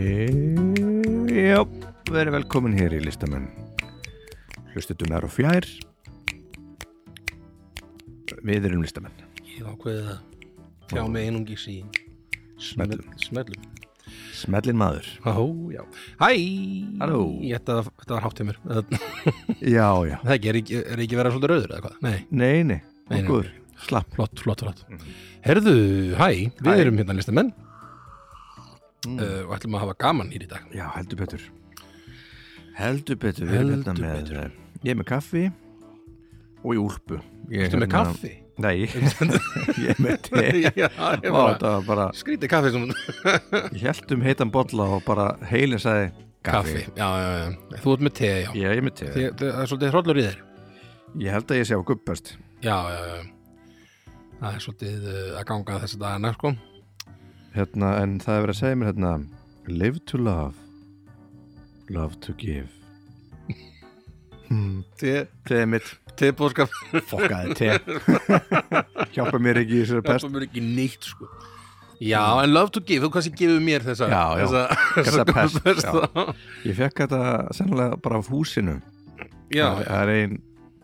E- Já, verið velkomin hér í listamenn Hlustutum nær og fjær Við erum listamenn Ég hef ákveðið að tjá mig einungis í smell- smellum. Smellin maður Ó, já. Hæ! Halló. Ég ætta að þetta var hátt hjá mér. Það Já, já er ekki, er ekki, er ekki verið svolítið rauður eða hvað? Nei, Nei, nei, Nei, nei. okkur, slapp flott, flott, flott. Herðu, hæ, við Hæ. erum hérna listamenn uh, og ætlum að hafa gaman hér í dag. Já, heldur betur Heldur betur, við erum Heldur hérna með Ég er með kaffi og í úlpu Ég Ertu með kaffi? Nei, ég er með te já, hérna- Ó, ég bara, þetta var bara skrítið kaffi sem Ég held um heitan bolla og bara heilin sagði kaffi. Já, já, já. Þú ert með te, já. Já, ég er með te Þi- Það er svolítið hrollur í þér. Ég held að ég sé á guppast Já, já, já. Það er svolítið uh, að ganga þessi dagana, sko. hérna, En það er verið að segja mér hérna Live to love Love to give Te, Teðið mitt, te bóðskap fokkaði te Hjálpa mér ekki í þessari Það pest er mér ekki neitt sko Já, en love to give, þú kannski gefur mér þessa Já, já. þessa, Þessa pest, já. Ég fekk þetta sennilega bara af húsinu Já, Það er ein,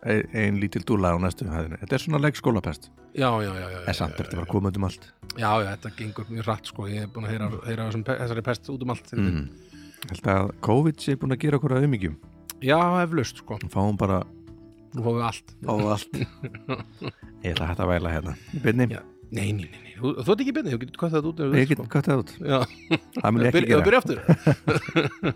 ein, ein lítil dúla á næstu hæðinu Þetta er svona leikskólapest já, já, já, já, já, En samt er þetta bara komandi um allt já, já, þetta gengur mjög hratt sko Ég er búin að heyra, heyra þessum, pe- þessari pest út um allt mm. mm. Held að COVID sé búin að gera okkur að umingjum Já, eflaust sko, Fáum bara nú fáum við allt á allt Ég ætla að hætta að væla hérna Byrni, Já. Nei, nei, nei, nei. Þú, þú ert ekki byrnið, þú getur kvætt það út ef þú ég vilt, get gott það út Já, Það mun ég ekki byrja, gera byrja aftur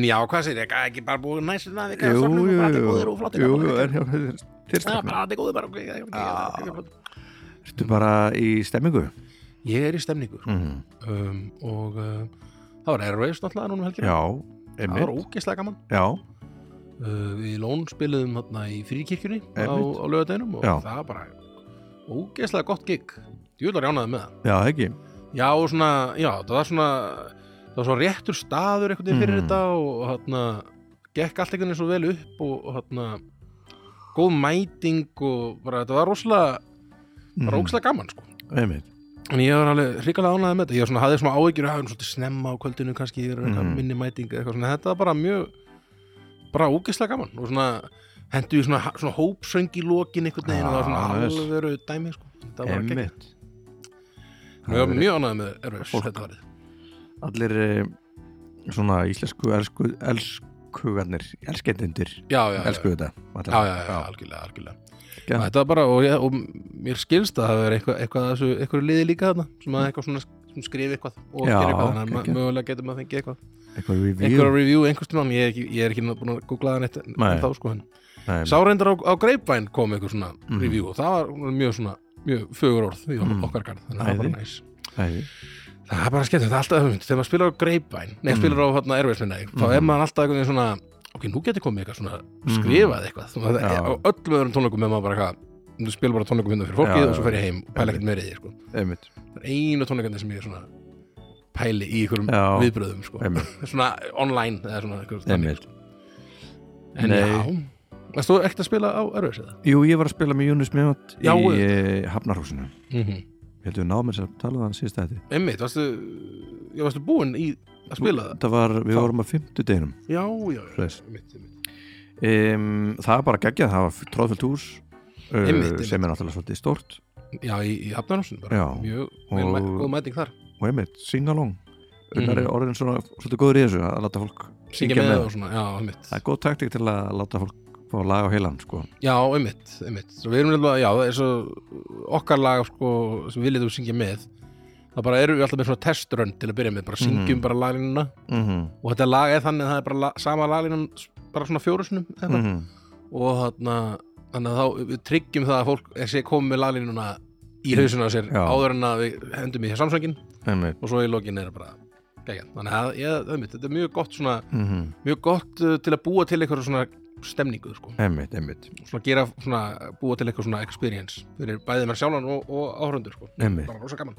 En já, hvað sér ég, ekki bara búið næstu Það er Jú, jú, bara allir jú, góðir og flottir jú, og jú bara- en hjá þér Já, stefna bara allir góðir bara ok, ok, ok, ok. Ertu bara í stemmingu? Ég er í stemningu sko. Mm. um, og uh, það var Airwaves náttúrulega núna um helgina Já, það var einmitt ógeðslega gaman Já, uh, við lón spiluðum þarna í fríkirkjunni á, Einmitt. á lögadeginum og Já. það var bara ógeðslega gott gig djúlar jánaði með það já, ekki já og svona, já það var svona það var svona réttur staður einhvern veginn fyrir Mhm. þetta og þarna gekk allt einhvern veginn svo vel upp og, og þarna góð mæting og bara þetta var rosalega bara Mm. ógeðslega gaman sko Einmitt En ég var alveg hrikalega ánægði með þetta, ég var svona, hafði svona áhyggjur að hafa svolítið snemma á kvöldinu kannski, ég er eitthvað Mhm. minni mæting eða eitthvað svona, þetta var bara mjög, bara ógeðslega gaman og svona, hendu við svona, svona hópsöng í lokin einhvern veginn og það Ah, var vel. svona alvegur dæmi, sko, þetta var bara gegn. Einmitt Ég var mjög ánægði með erfis, Fólk. þetta varðið. Allir eh, svona íslensku elsku, elskugarnir elskendundir, Já, já, já, elsku þetta já, já, já, algjörlega, algjörlega. Og Þetta var bara, og, ég, og mér skilst að það er eitthvað, eitthvað að þessu, eitthvað liði líka þarna, sem að eitthvað svona, sem skrifi eitthvað og Já, gera eitthvað, þannig að geggjað. mögulega getum að fengi eitthvað. Eitthvað review einhverja review einhvers tímann, ég er ekki, ég er ekki búin að googla það neitt en Nei. þá sko en Nei, sá reyndar á, á Grapevine kom einhver svona Mhm. review og það var var mjög svona mjög fögur orð í Mhm. okkar garð þannig að það var Æði. bara næs æði. það er bara skemmt, þetta er alltaf hugmynd þegar maður spilar á Grapevine, nei, Mhm. spilar á hérna, erfisminni þá Mhm. er maður alltaf einhvern veginn svona ok, nú getur komið eitthvað svona Mhm. skrifað eitthvað þannig að það Já. er- á öllum öðrum tónleikum er maður bara eitthvað þú spilur bara tónleikum hérna fyrir fólkið Já, og já, svo fer ég heim og pæla ekkert meira í því sko. Einmitt það er einu tónleikarnir sem ég er svona pæli í ykkurum Já. viðbröðum sko. Einmitt, svona online eða svona einhver þannig. einmitt En Nei. já, varst þú ekkert að spila á Örfis eða? Jú, ég var að spila með Jónus Mjótt í Já, eh, Hafnarhúsinu Mm Ég held við náðum þess að tala um það síðast að Einmitt, varstu, já, varstu búinn í að spila það? þetta var, Við Þá. vorum að fimmtudeginum Já, já, já, Svoleiðis. einmitt, einmitt. um, Það var bara geggjað, það var tróðfjöld hús uh, Einmitt, einmitt. sem er náttúrulega svolítið stort Já, í, í Hafnarhúsin bara, Já. mjög, mjög mæ, Og- góð mæting þar og einmitt, singalong Unnar Mhm. er orðin svona, svolítið góður í þessu að láta fólk Syngja með og svona, já, einmitt Það er góð taktik til að láta fólk fá lag á heilan sko. Já, einmitt, einmitt Svo við erum nefnilega, já, það er svo okkar lag, sko, sem við letum syngja með Það bara erum við alltaf með svona teströnd til að byrja með, bara syngjum Mhm. bara laglínuna mm -hmm. og þetta lag er þannig að það er bara la, sama laglínan bara svona fjórusunum Mhm, eða eitthvað. og þarna þannig að þá við tryggjum það að fólk er sé komið með laglínuna í hausuna sér Já. áður en að við hendum í samsöngin Einmitt og svo í lokin er það bara gegja þannig að ég, einmitt, þetta er mjög gott svona, mm mjög gott uh, til að búa til eitthvað svona stemningu sko. Einmitt, einmitt svona gera, svona, búa til eitthvað svona experience fyrir bæðið mér sjálfan og, og áhörundur sko. Einmitt. bara rosa gaman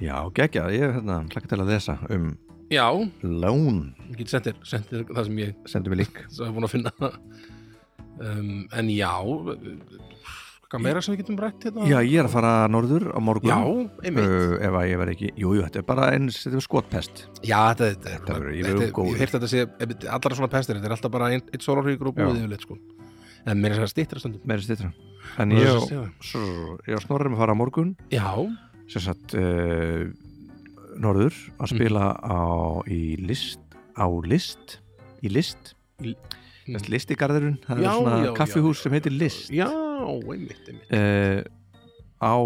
Já, geggjað, ég er hérna hlakka til að lesa um já, Lón ég get sendir, sendir það sem ég Sendu mér lík sem er búin að finna um, en já uh, eitthvað meira sem við getum rætt hérna? Já, ég er að fara norður á morgun Já, uh, einmitt. ef að ég verð ekki, jú, jú, þetta er bara eins, þetta er skotpest Já, þetta, þetta er Þetta verður- ég verður þetta, er- góður. Ég heyrt þetta að segja, einmitt, allar svona pestir, þetta er alltaf bara einn ein sólarhríkur og búið Já. yfirleitt sko. En mér er þess að stýttra stundum. meira stýttra en ég, og- svo- ég og snorrum að fara á morgun Já, sem sagt uh, norður Mhm. að spila á, í list á list í list Í- Mm. Lest list í garðurinn, það er Já, svona já, já, kaffihús já, sem heitir list já, einmitt, einmitt. uh, á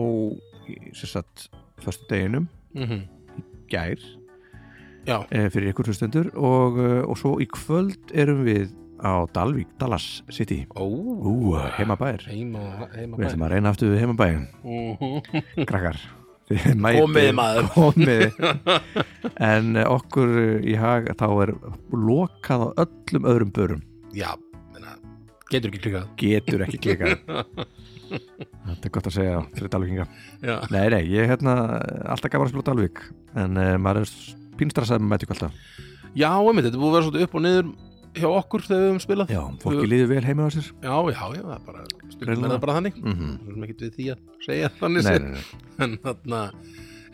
í- sem sagt förstu deginum Mm gær Já, uh, fyrir ykkur hlustendur og, uh, og svo í kvöld erum við á Dalvík, Dallas City ó, ú, ah. heimabæir heima, heima við ætlum að reyna aftur við heimabæin bæn. krakkar Þið mætið- Komið, maður. komið en eh, okkur í hag þá er lokað á öllum öðrum börum Já, menna, getur ekki klikað. getur ekki klikað þetta er gott að segja fyrir Dalvíkinga Já, nei nei, ég er hérna eh, alltaf gaman að spila á Dalvík en uh, maður er pínstrasað með mætið alltaf já einmitt, þetta er búið að vera svolítið upp og niður hjá okkur þegar við höfum spilað. já, fólki líður vel heima á sér Já, já, já, það er bara, stundum Greinilega. er það bara þannig. mm -hmm. Við erum ekkert við því að segja þannig nei, séð. nei, nei. en þarna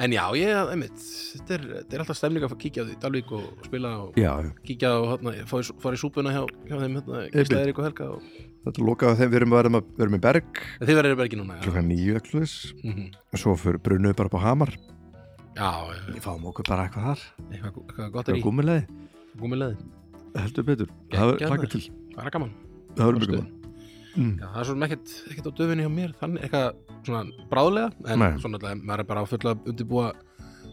En já, ég, einmitt, þetta er, þetta er alltaf stemning að fá- kíkja á því, Dalvík og spila og já, kíkja og hérna, fá í sú- fara í súpuna hjá, hjá þeim, hérna, Einmitt. Gísla Eirík og Helga og þetta er lokað á þeim við erum, við erum, við erum í Berg En þið verður bara ekki núna, já. klokkan nýju ekklus Mm svo fyrir brunum við bara upp á Hamar Já, fáum okkur bara eitthvað þar eitthvað, eitthvað gott er í, eitthvað gúmilegði gúmileði, Heldur betur, það er Geggjað hlakka maður. til það er gaman. Það verður Bara mjög stuð. gaman Mm. Já, það er svona ekkert, ekkert á döfinni hjá mér, þannig eitthvað svona bráðlega, en Nei. svona alltaf, maður er bara á fulla að undirbúa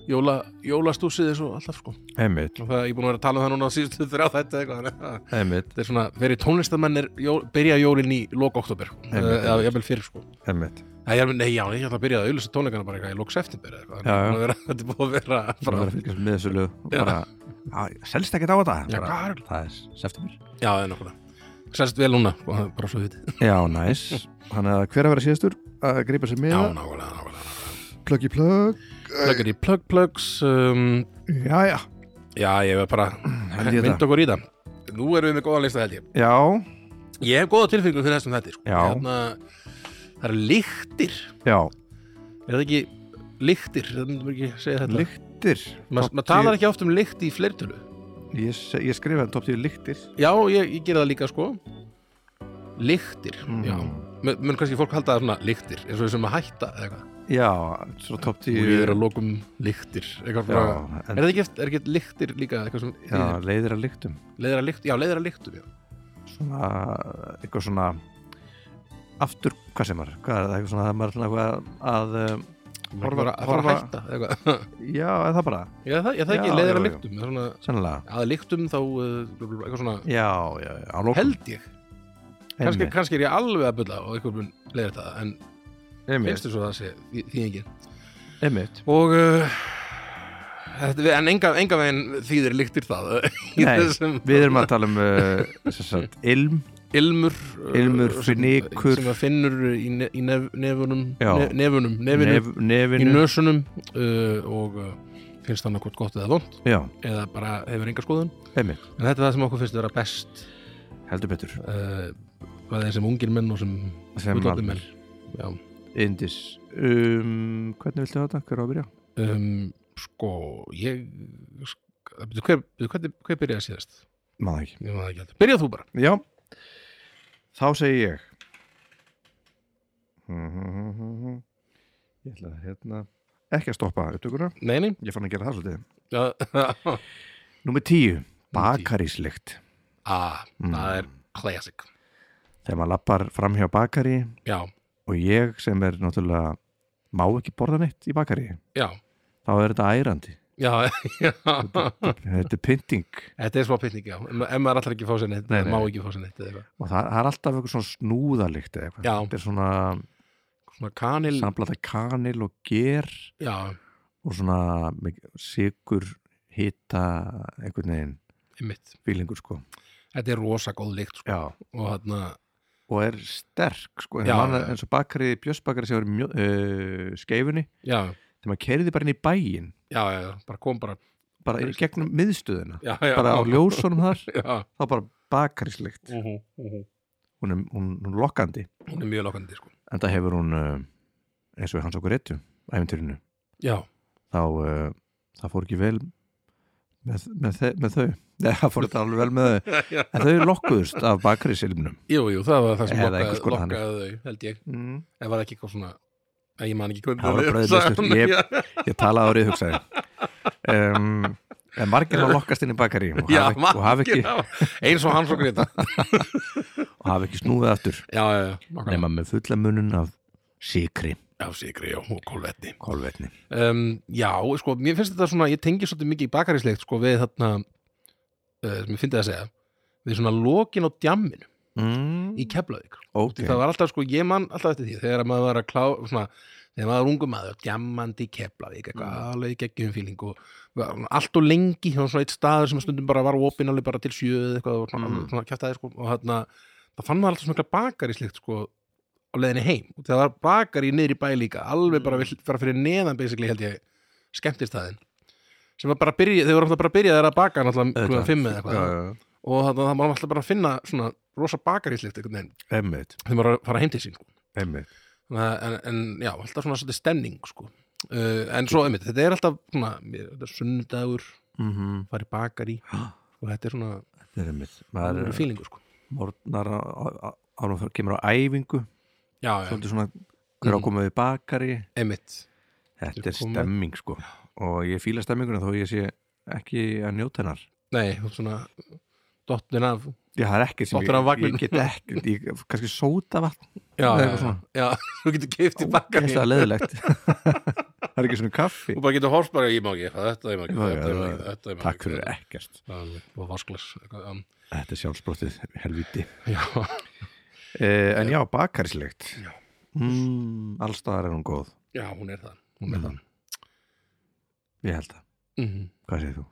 jóla, jólastúsið eins og alltaf, sko. Einmitt, Og það, ég er búin að vera að tala um það núna á síðustu þrjá þetta eitthvað, þannig að einmitt, þetta er svona, fyrir tónlistamennir jól, byrja jólin í lok oktober, Einmitt, eða jafnvel fyrir, sko. einmitt Nei, ég, er- nei, já, ég ætla að byrja að auðlýsa tónleikana bara eitthvað í lok september eða eitthvað. Já, já. Búin að vera- Þetta er búin að vera Það bara, verður að fylgjast með þessu lög og Já. bara, "Á, selst ekkert á þetta Já, bara, hvað er- Það er september já, það er nokkulega. Sérst vel núna, sko, bara svo við þetta. Já, næs Þannig að hver að vera síðastur að greipa sér Já, með nákvæmlega, nákvæmlega. Plugg í plugg Pluggar í plug plugs, um, Já, já, já, ég verð bara held ég mynd þetta okkur í það. Nú erum við með góðan lista held ég. Já, Ég hef góða tilfengur fyrir þessum þetta, sko. Já. það eru lyktir, já, er það ekki lyktir, það myndum ekki segja þetta. lyktir Ma, Topp maður tíu- talar ekki oft um lykt í fleirtölu. Ég, se- ég skrifa hann top 10 lyktir Já, ég, ég gera það líka sko Lyktir, Mm. já Men, menn kannski fólk halda það svona lyktir eins og þessum að hætta eða eitthvað Já, svo top 10 og ég er að lokum lyktir eitthvað Já, bara Er en, það ekki, eftir- er ekki lyktir líka eitthvað sem já, leiðir að lyktum leiðir að lykt, já, leiðir að lyktum já. svona, eitthvað svona aftur, hvað sem er, hvað er það eitthvað svona, maður er svona eitthvað að um, Horfa, Horfa- að fara að horfa- hætta eða eitthvað já, er það bara, Já, það, já, það Já, ekki, já, leiðir að já. lyktum eða svona, sennilega að lyktum þá uh, blub, blub, eitthvað svona, já, já, já, á lókum held ég kannski, kannski er ég alveg að bulla og eitthvað mun leiðir það en einmitt, finnst þér svo það sé því, því engin einmitt og uh, þetta, en enga, enga veginn þýðir líktir það eh, í Nei, þessum við erum að tala um uh, sem sagt, ilm, ilmur Ilmur, uh, sem- fnykur. sem að finnur í, ne, í nef, nefunum Já. ne, nefunum, nefinu, nef, í nefinu nösunum uh, og uh, finnst þannig hvort gott eða vond já, eða bara hefur enga skoðun einmitt, en þetta er það sem okkur finnst vera best heldur betur uh, bæðið sem ungir menn og sem sem fullorðnir alveg, menn já, indis um, hvernig viltu þetta, hver á að byrja? um, sko ég sk- byrju, hver, byrju, hver, hver byrjaði síðast? maður ekki, Ég man það ekki heldur. Byrjað þú bara já þá segi ég Mhm. ég ætla að hérna ekki að stoppa upptökuna, Nei, nei ég fann að gera það svolítið Já, Númer tíu, bakaríslykt ah, Mm. það er classic Þegar maður lappar fram hjá bakari Já, og ég sem er náttúrulega má ekki borða neitt í bakari já, þá er þetta ærandi já, já Þetta er pynting Þetta er smá pitning, já En en maður allar ekki fá sér neitt, Nei, nei. Mm. má ekki fá sér neitt eða eitthvað. og það, það er alltaf eitthvað svona snúðalykt eða eitthvað Já. Þetta er svona Svona kanil samblata kanil og ger Já, og svona mik- sykur hita einhvern veginn einmitt fílingur sko Þetta er rosa góð lykt sko. Já. Og þarna, og er sterk sko en Já, mann, já. eins og bakari, bjössbakari sem er í mjó- uh, skeifunni já, þegar maður kerði bara inn í bæin já, já, já Bara kom bara bara í gegnum miðstöðina Já, já bara á ljósunum þar Já, þá bara bakaríslykt uh -huh, uh -huh. hún er, hún, hún er lokkandi hún er mjög lokandi sko en það hefur hún uh, eins og hans okkur réttu æfintýrinu já, þá uh, það fór ekki vel með, með, þe með þau Nei, það fór þetta alveg vel með þau já en þau lokkuðust af bakri silmnum Jú, jú, það var það sem Eða lokkaði, einhvers konar þannig. lokkaði þau, held ég mm. En var ekki eitthvað svona að ég man ekki hvernig Það var brauðlistur, ég- ég talaði árið hugsaði um, en margir hafa lokkast inn í bakari og já, hafa ekki, haf ekki, ekki Eins og hans og Greta og hafa ekki snúið aftur Já, já, já, nákvæmlega. nema með fulla munun af síkri já Sigri, já, og kolvetni kolvetni um, Já, sko, mér finnst þetta svona Ég tengi svolítið mikið í bakaríslegt sko, við þarna uh, sem ég fyndi að segja við svona lokin á djamminu mm, í Keflavík ok, það var alltaf sko, ég man alltaf eftir því þegar maður var að klá, svona þegar maður var ungu maður, djammandi í Keflavík eitthvað Mm. alveg geggjum fíling og var svona allt og lengi, það var svona eitt staður sem stundum bara var opinn alveg bara til sjöð eitthvað og svona, Mm. svona kjæftaði sko og þarna, það fann maður alltaf svona bakar í slikt sko á leiðinni heim og það var bakar í niðri bæ líka alveg Mm. bara, við, bara fyrir neðan basically held ég skemmtistæðin sem var bara að byrja, þau voru alltaf bara að byrja þeirra að baka náttúrulega Auðvitað. klúðan fimm eða eitthvað já, já, og þarna það var alltaf bara að finna svona rosa bakar í slikt einhvern veginn emmitt þegar maður var að fara heim til sín sko emmitt, Þannig að- en, en já, alltaf svona svolítið stemning sko. uh, en svo einmitt, þetta er alltaf svona, mér- þetta er sunnudagur mm -hmm. farið bakar í og þetta er svona þetta er emmitt það maður er er fílingu sko. morgnar ánum það kemur á æfingu já, já, svolítið svona hver á Mm. komaði bakari einmitt þetta Þeir er koma- stemming sko og ég fíla stemminguna þó ég sé ekki að njóta hennar nei, þú ert svona dottin af Já, það er ekkert sem Dottir af ég, vagninum. ég get ekkert, ég, kannski sóta vatn, já, Nei, já, eitthvað já, svona. já, þú getur keift í bakar það er leðilegt. það er ekki svona kaffi. og bara getur horst bara, ég má ekki, eitthvað, þetta ég má Já, ekki já, þetta ég má já. ekki, þetta ég má Takk ekki fyrir ekkert. Alveg, og vasklas eitthvað, um, Þetta er sjálfsbrottið, helviti. já, Eh, en já, bakarislegt. Já. Mm, allstaðar er hún góð, já, hún er það hún er Mm. það ég held það. mm Hvað segir þú?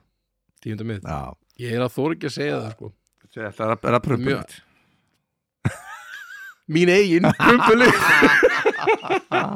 tíunda mið, Já, ég er að þóra ekki að segja það sko þetta er- er að pröfum Mjög- mitt. mín eigin prumpulit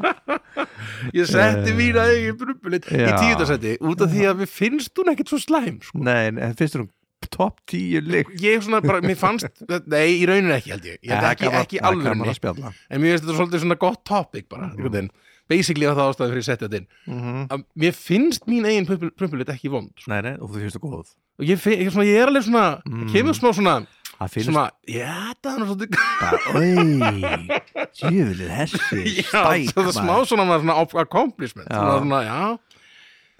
ég setti Eh, mín eigin prumpulit í já. tíundasetti út af því að mér finnst hún ekkit svo slæm sko. Nei, en- en finnst þér hún topp tíu líkt? ég svona bara, mér fannst nei, í rauninu ekki held ég, ég held ekki, ekki alveg Það er Eh, gaman að en spjalla. mér finnst þetta svolítið svona gott topic bara, Mhm. einhvern veginn basically var það ástæði fyrir að setja þetta inn Mhm. að mér finnst mín eigin prumpulit ekki vond sko. Nei, nei, og þú finnst það góð. og ég, finn, ég, svona, ég er alveg svona, Mm. mm. kemur smá svona Það finnst svona, já, það er nú svolítið bara, oi, djöfilið hessi, já, það er smá svona, maður svona accomplishment, Já. svona, svona, já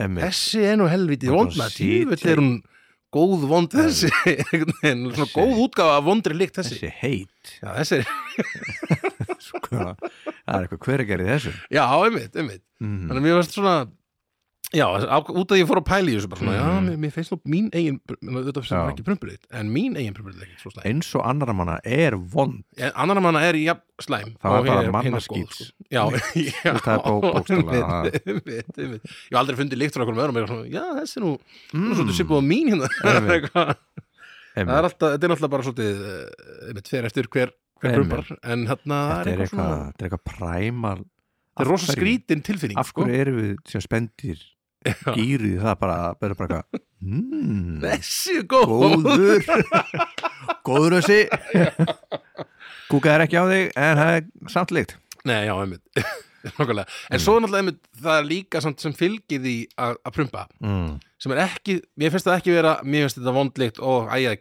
Emmi, þessi er nú helvítið Bara vond svona maður, djúvill er hún góð vond þessi einhvern veginn, svona Þessi. góð útgáfa af vondri líkt þessi þessi heit já, þessi er, Hvað- Sko, það er eitthvað hver að gera í þessu já, einmitt, einmitt mm. þannig að mér varst svona já, á, út af því ég fór að pæla í þessu bara svona, Mhm. já, mér, mér finnst nú mín eigin þetta sem Já. var ekki prumpulit, en mín eigin prumpulit er ekki svo slæm, eins og annara manna er vond en annar manna er já, slæm Það var og bara hin er- hin er mannaskít. góð, sko. já, já, Það er bó- bókstaflega, það. einmitt, einmitt, einmitt. ég hef aldrei fundið líkt frá okkur með öðrum ég var svona, já, þessi er nú, nú Mm. svolítið svipuð á mín hérna Einmitt. Eitthvað. Einmitt. það er alltaf, þetta er alltaf bara svolítið eh, einmitt fer eftir hver, hver Einmitt. brumbar en þarna það þetta er er eitthvað eitthvað svona þetta er eitthvað præmal þetta er Af rosa hverju- skrítin tilfinning sko. af hverju erum við sem spendir gýrið það bara, bara, bara eitthvað sko. mm, þessi er góð góður góður þessi kúkaðir ekki á þig en það er samt líkt nei, já, einmitt Nákvæmlega. en svo náttúrulega einmitt það er líka samt sem fylgið í að að prumpa mm. sem er ekki, mér finnst það ekki vera mér finnst þetta vondlikt og æja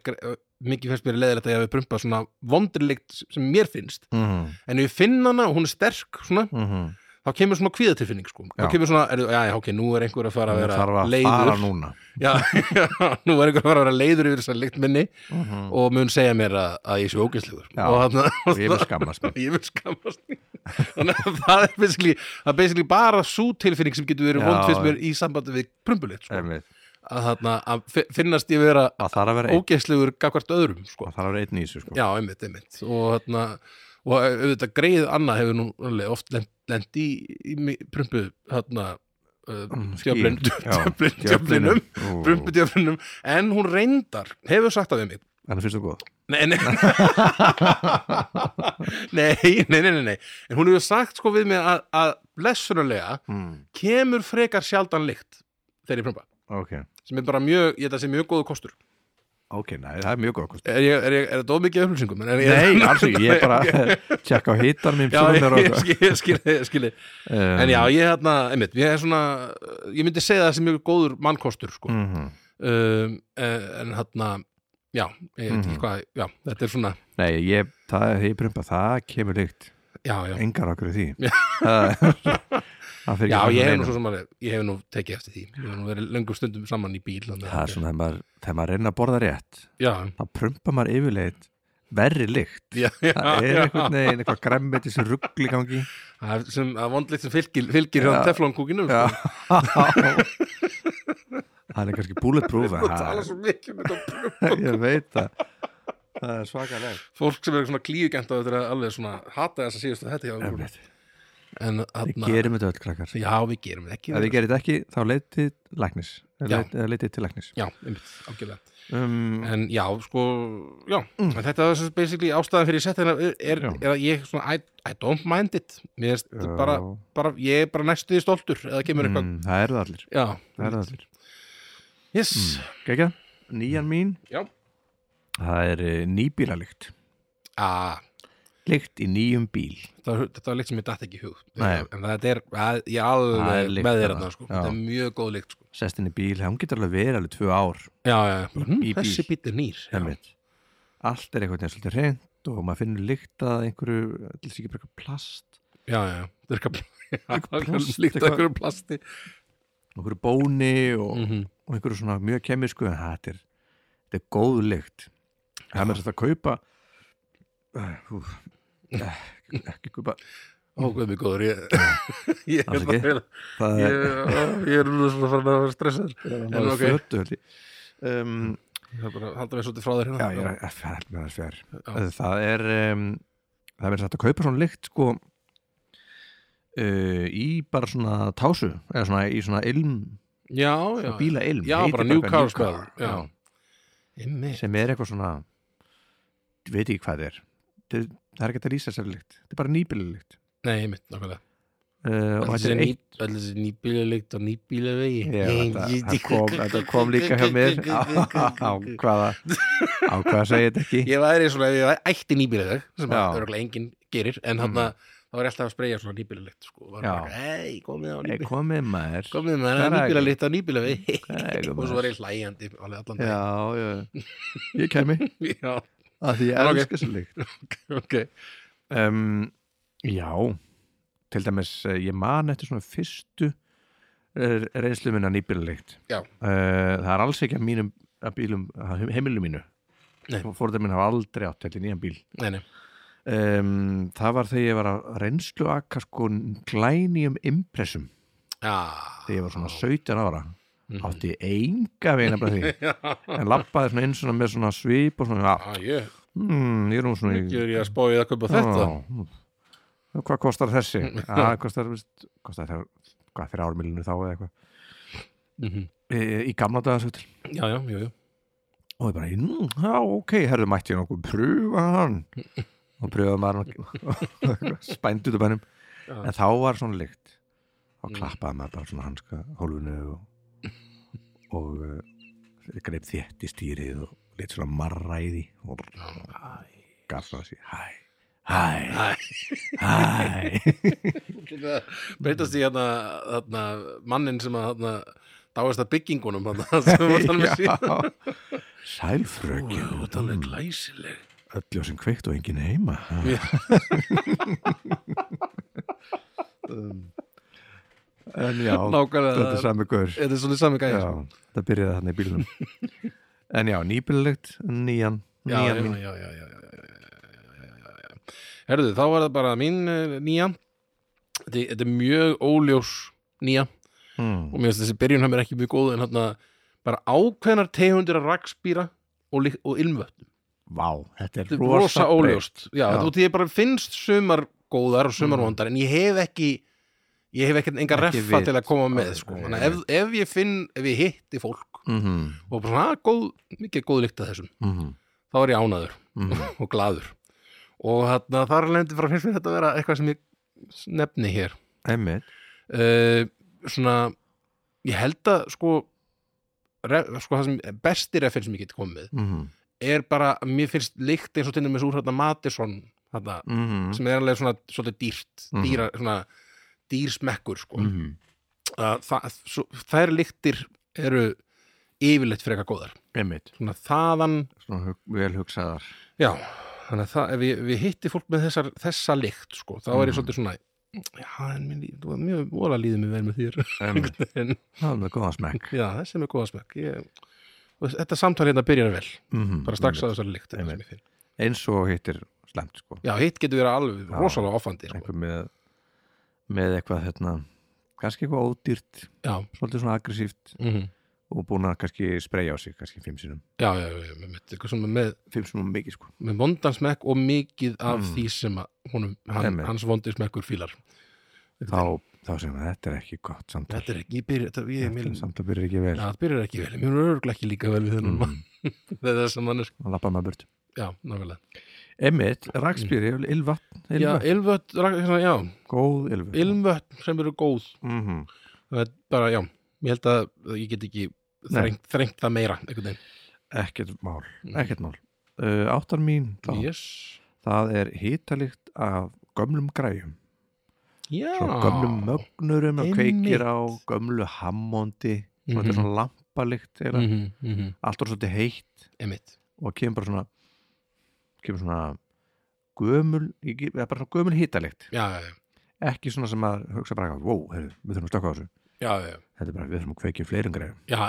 mikið finnst mér leðilegt að ég hafi prumpa svona vondlikt sem mér finnst Mm. en ef ég finn hana og hún er sterk svona, Mm. þá kemur svona kvíðatilfinning sko. þá Já. kemur svona, er, já, já, ok, nú er einhver að fara að það vera þarf að fara leiður núna já, já, nú er einhver að fara að vera leiður yfir þessar líkt minni Mhm. og mun segja mér að, að ég sé ógæslegur Já. og þarna, og ég vil skammast mig ég vil skammast mín. þannig að það er basically, það er basically bara svo tilfinning sem getur verið Já, vond fyrst já. mér í sambandi við prumbulit sko. Einmitt. að, þarna, að fi- finnast ég vera það þarf að vera einn ógæslegur gagvart öðrum sko. það þarf að vera einn í þessu sko já, einmitt, einmitt og, þarna, og auðvitað greið annað hefur nú alveg oft lent, lent í, í mi- prumpu þarna uh, Mm, skýr. djöflin- Já, djöflin- djöflinum Ú, prumpudjöflinum en hún reyndar, hefur sagt það við mig Þannig finnst þú góð Nei, nei Nei, nei, nei, nei, nei En hún hefur sagt sko við mig að, að blessunulega mm. kemur frekar sjaldan lykt þegar ég prumpa Ok, sem er bara mjög, ég held að sé mjög góðu kostur ok, næ, það er mjög góð kost Er, ég, er, ég, er þetta of mikið af upplýsingum? En er ég- Nei, alls ekki, ég er bara að tjekka á hittar minn Já, ég, ég en skil, ég skil, ég skil Eh, En já, ég hérna, einmitt, ég er svona ég myndi segja það sem mjög góður mannkostur sko. mm -hmm. um, eh, en hérna já, ég veit ekki Mhm. hvað, já, þetta er svona Nei, ég, það, ég prumpa, það kemur líkt já, já, engar okkur í því Já. Það- það fer ekki já, fram hjá ég hef neinum. nú svo sem að ég hef nú tekið eftir því, ég hef nú verið löngum stundum saman í bíl þannig að- það er svona þegar maður, þegar maður reyna að borða rétt já, þá prumpar maður yfirleitt verri lykt já, já, það er já. einhvern veginn eitthvað græmmeti sem ruggli gangi það er sem að vondleitt sem fylgir, fylgir Já. hérna teflon kúkinu Já. það er kannski bulletproof en það tala það- svo mikið um þetta ég veit það það er svakalegt fólk sem er svona klíugent á þetta er alveg svona hata þess að síðustu þetta hjá okkur. Einmitt. en við hérna, gerum þetta öll krakkar já, við gerum þetta ekki ef við gerum þetta ekki þá leitið læknis Já. Leit- eða leitið til læknis já, einmitt, ágjörlega um, en já, sko, já en þetta er basically ástæðan fyrir sett er, er, Mm. Já. er að ég svona, I, I don't mind it mér erst já, bara, bara ég er bara næstuði stoltur eða kemur eitthvað, mm, það eru það allir já það eru það allir yes, Gekja, nýjan mín Já. það er eh, nýbílalikt ah, likt í nýjum bíl þetta, var- þetta var líkt sem ég datt ekki í hug Nei. en þetta er, að, ég Það er alveg lykt með þér þarna. þarna, sko. Já. þetta er mjög góð líkt sko. sest inn í bíl, hann getur alveg verið alveg tvö ár já, já, já, bara, hm, Í bíl. þessi bít er nýr já, einmitt. allt er einhvern veginn svolítið reynd og maður finnur lykt að einhverju til þess ekki bara eitthvað plast já, já, þetta er eitthvað- Eitthvað plast, líkt að eitthvað- einhverjum plasti einhverju bóni og, mm -hmm. og einhverju svona mjög kemisku en þetta er, þetta er góð lykt það er með þetta að kaupa Æ, úf, ekki, eh, ekki kaupa ó, hvað er mjög góður ég, ég, Alls er ekki. bara- það ég, er, ég er nú svona farin að vera stressað það en er ok. fötu held ég. um, Það er bara að halda mig svolítið frá þér hérna Já, ég er að fælt með það fjær Já. Það er um, það er verið satt að kaupa svona lykt sko uh, í bara svona tásu eða svona í svona ilm já, já, svona já. bíla ilm Já, bara New Car Smell, já. Einmitt. sem er eitthvað svona ég veit ekki hvað það er það, það er ekki hægt að lýsa sér lykt þetta er bara nýbíla lykt Nei, einmitt, nákvæmlega uh, og þetta er eitt Allir þessi nýbílalikt og nýbílavegi Já, þetta, það kom, þetta kom líka hjá mér á, hvaða á hvaða segi þetta ekki Ég væri svona, ef ég væri ætti nýbílaveg sem Já. Mm. að örgulega enginn gerir en hann þá var ég alltaf að spreyja svona nýbílalikt sko, og var Já. bara, hei, komið á Nei, nýbílavegi komið maður komið með það Hvað er það nýbílalikt á nýbílavegi Nei, komið og svo maður. var ég hlæjandi alveg allan dag. Já, já, ég kemi Já, að því En ég ok. elska þessu lykt ok um, Já til dæmis eh, ég man eftir svona fyrstu eh, reynslu minna nýbílulykt Já. uh, Það er alls ekki að mínum að bílum, að heimilu mínu Nei. fórðar minn hafa aldrei átt þetta nýjan bíl Nei, nei, um, Það var þegar ég var að reynslu akka sko glænýjum impressum já þegar ég var svona 17 ára Mhm. átti ég enga veginn af því Já, en labbaði svona inn svona með svona svip og svona, ah, Já, ég mm, ég er nú svona í Ég er ég að spá í að kaupa þetta Já. Og Hvað kostar þessi? Það kostar, veist, kostar þér, hvað þeirra ármilinu þá eða eitthvað. Mhm. Í, í gamla daga svo til. Já, já, já, já Og ég bara, "Nú, já, ok, herðu mætti ég nokkuð, pröfa hann. Og pröfaði maður hann spænd út af bænum. Já. En þá var svona lykt. Og Mm. klappaði maður bara svona hanska hólfinu og, og uh, greip þétt í stýrið og lit svona marra í því og gaf svona þessi, hæ, hæ, Æ, hæ. breytast í hérna, hérna mannin sem að hérna, dáist að byggingunum hérna, sem var þannig með síðan Sælfrökin Þú ert alveg glæsileg Mm, Öll ljósin kveikt og engin heima ha? Já. um, En já, þetta Nákvæmlega, er sami gaur þetta er svona sami gæði Já, það byrjaði þannig í bílunum En já, nýbílulikt, nýjan já, já, Nýjan mín já, já, já, já, já, já. Herðu, þá var það bara mín eh, nýja Þetta er- þetta er mjög óljós nýja og mm. mér finnst þessi byrjun hann er ekki mjög góð en hérna bara ákveðnar tegundir að rakspýra og, lyk- og ilmvötn Vá, þetta er Þetta er rosa óljóst já, Já. já. Út, í ég bara finnst sumar góðar og sumar Mm. vondar en ég hef ekki ég hef ekki Ekki enga reffa vit. til að koma með sko. Nei. Þannig að ef, ef ég finn, ef ég hitti fólk mm -hmm, og bara svona, "Ah, góð, mikið góð líkt að þessum mm -hmm, þá er ég ánaður mhm. og glaður og þarna þar lendi frá finnst mér þetta að vera eitthvað sem ég nefni hér Eh, Einmitt uh, svona, ég held að sko re, sko, það sem besti refinn sem ég get komið mm -hmm. er bara, að mér finnst líkt eins og til dæmis úr hérna Matisson hérna, Mm -hmm. sem er alveg svona svolítið dýrt, Mhm. dýra, svona dýrsmekkur sko. Mm mm. það, svo, þær líktir eru yfirleitt frekar góðar Einmitt, svona þaðan, svona hug, vel hugsaðar já þannig að það, ef ég, ef ég hitti fólk með þessar, þessa líkt sko, þá er ég Mhm. svolítið svona já, en mér, líður- þú var mjög vola líðið mér vel með þér Einmitt, en, það er með góðan smekk já, þessi er með góða smekk ég, og þetta samtal hérna byrjar vel mm -hmm. bara strax að þessari líkt Einmitt. eins og hittir slemt sko já, hitt getur verið alveg Já. rosalega ofandi sko. einhver með, með eitthvað hérna, kannski eitthvað ódýrt já, svolítið svona aggressíft mm og búin að kannski spreja á sig kannski fimm sinum já, já, já, já, með, eitthvað svona með fimm sinum og mikið sko með vondan smekk og mikið af Mm. því sem að honum, hann, Einmitt. hans vondi smekkur fílar þá, þá sem að þetta er ekki gott samtal þetta er ekki, ég byrja, þetta, ég, þetta mér, er samtal byrjar ekki vel ja, það byrjar ekki vel mér er örgulega ekki líka vel við Mm. þennan mann það er það sem hann er, og lappa maður burt já, nákvæmlega Emmitt, rakspýri, ylvatn, já, ylvatn ilmvötn, rak- svona, já, góð ylvatn ilmvötn sem eru góð mm -hmm. það er bara, já, ég held að ég get ekki Nei. þrengt, þrengt það meira einhvern veginn, ekkert mál, Mm. ekkert mál uh, áttar mín, þá, yes það er hitalikt af gömlum græjum já, svo gömlum mögnurum og Einmitt. kveikir á gömlu hammondi og þetta Mhm. er svona lampalikt mm mm -hmm, mm -hmm, allt er svolítið heitt emitt og kemur bara svona kemur svona gömul, ég ge- eða bara svona gömul hitalikt já, já, já, ekki svona sem að hugsa bara eitthvað, wow, heyrðu, við þurfum að stökka á þessu já, já, þetta er bara, við þurfum að kveikja fleirum græjum já,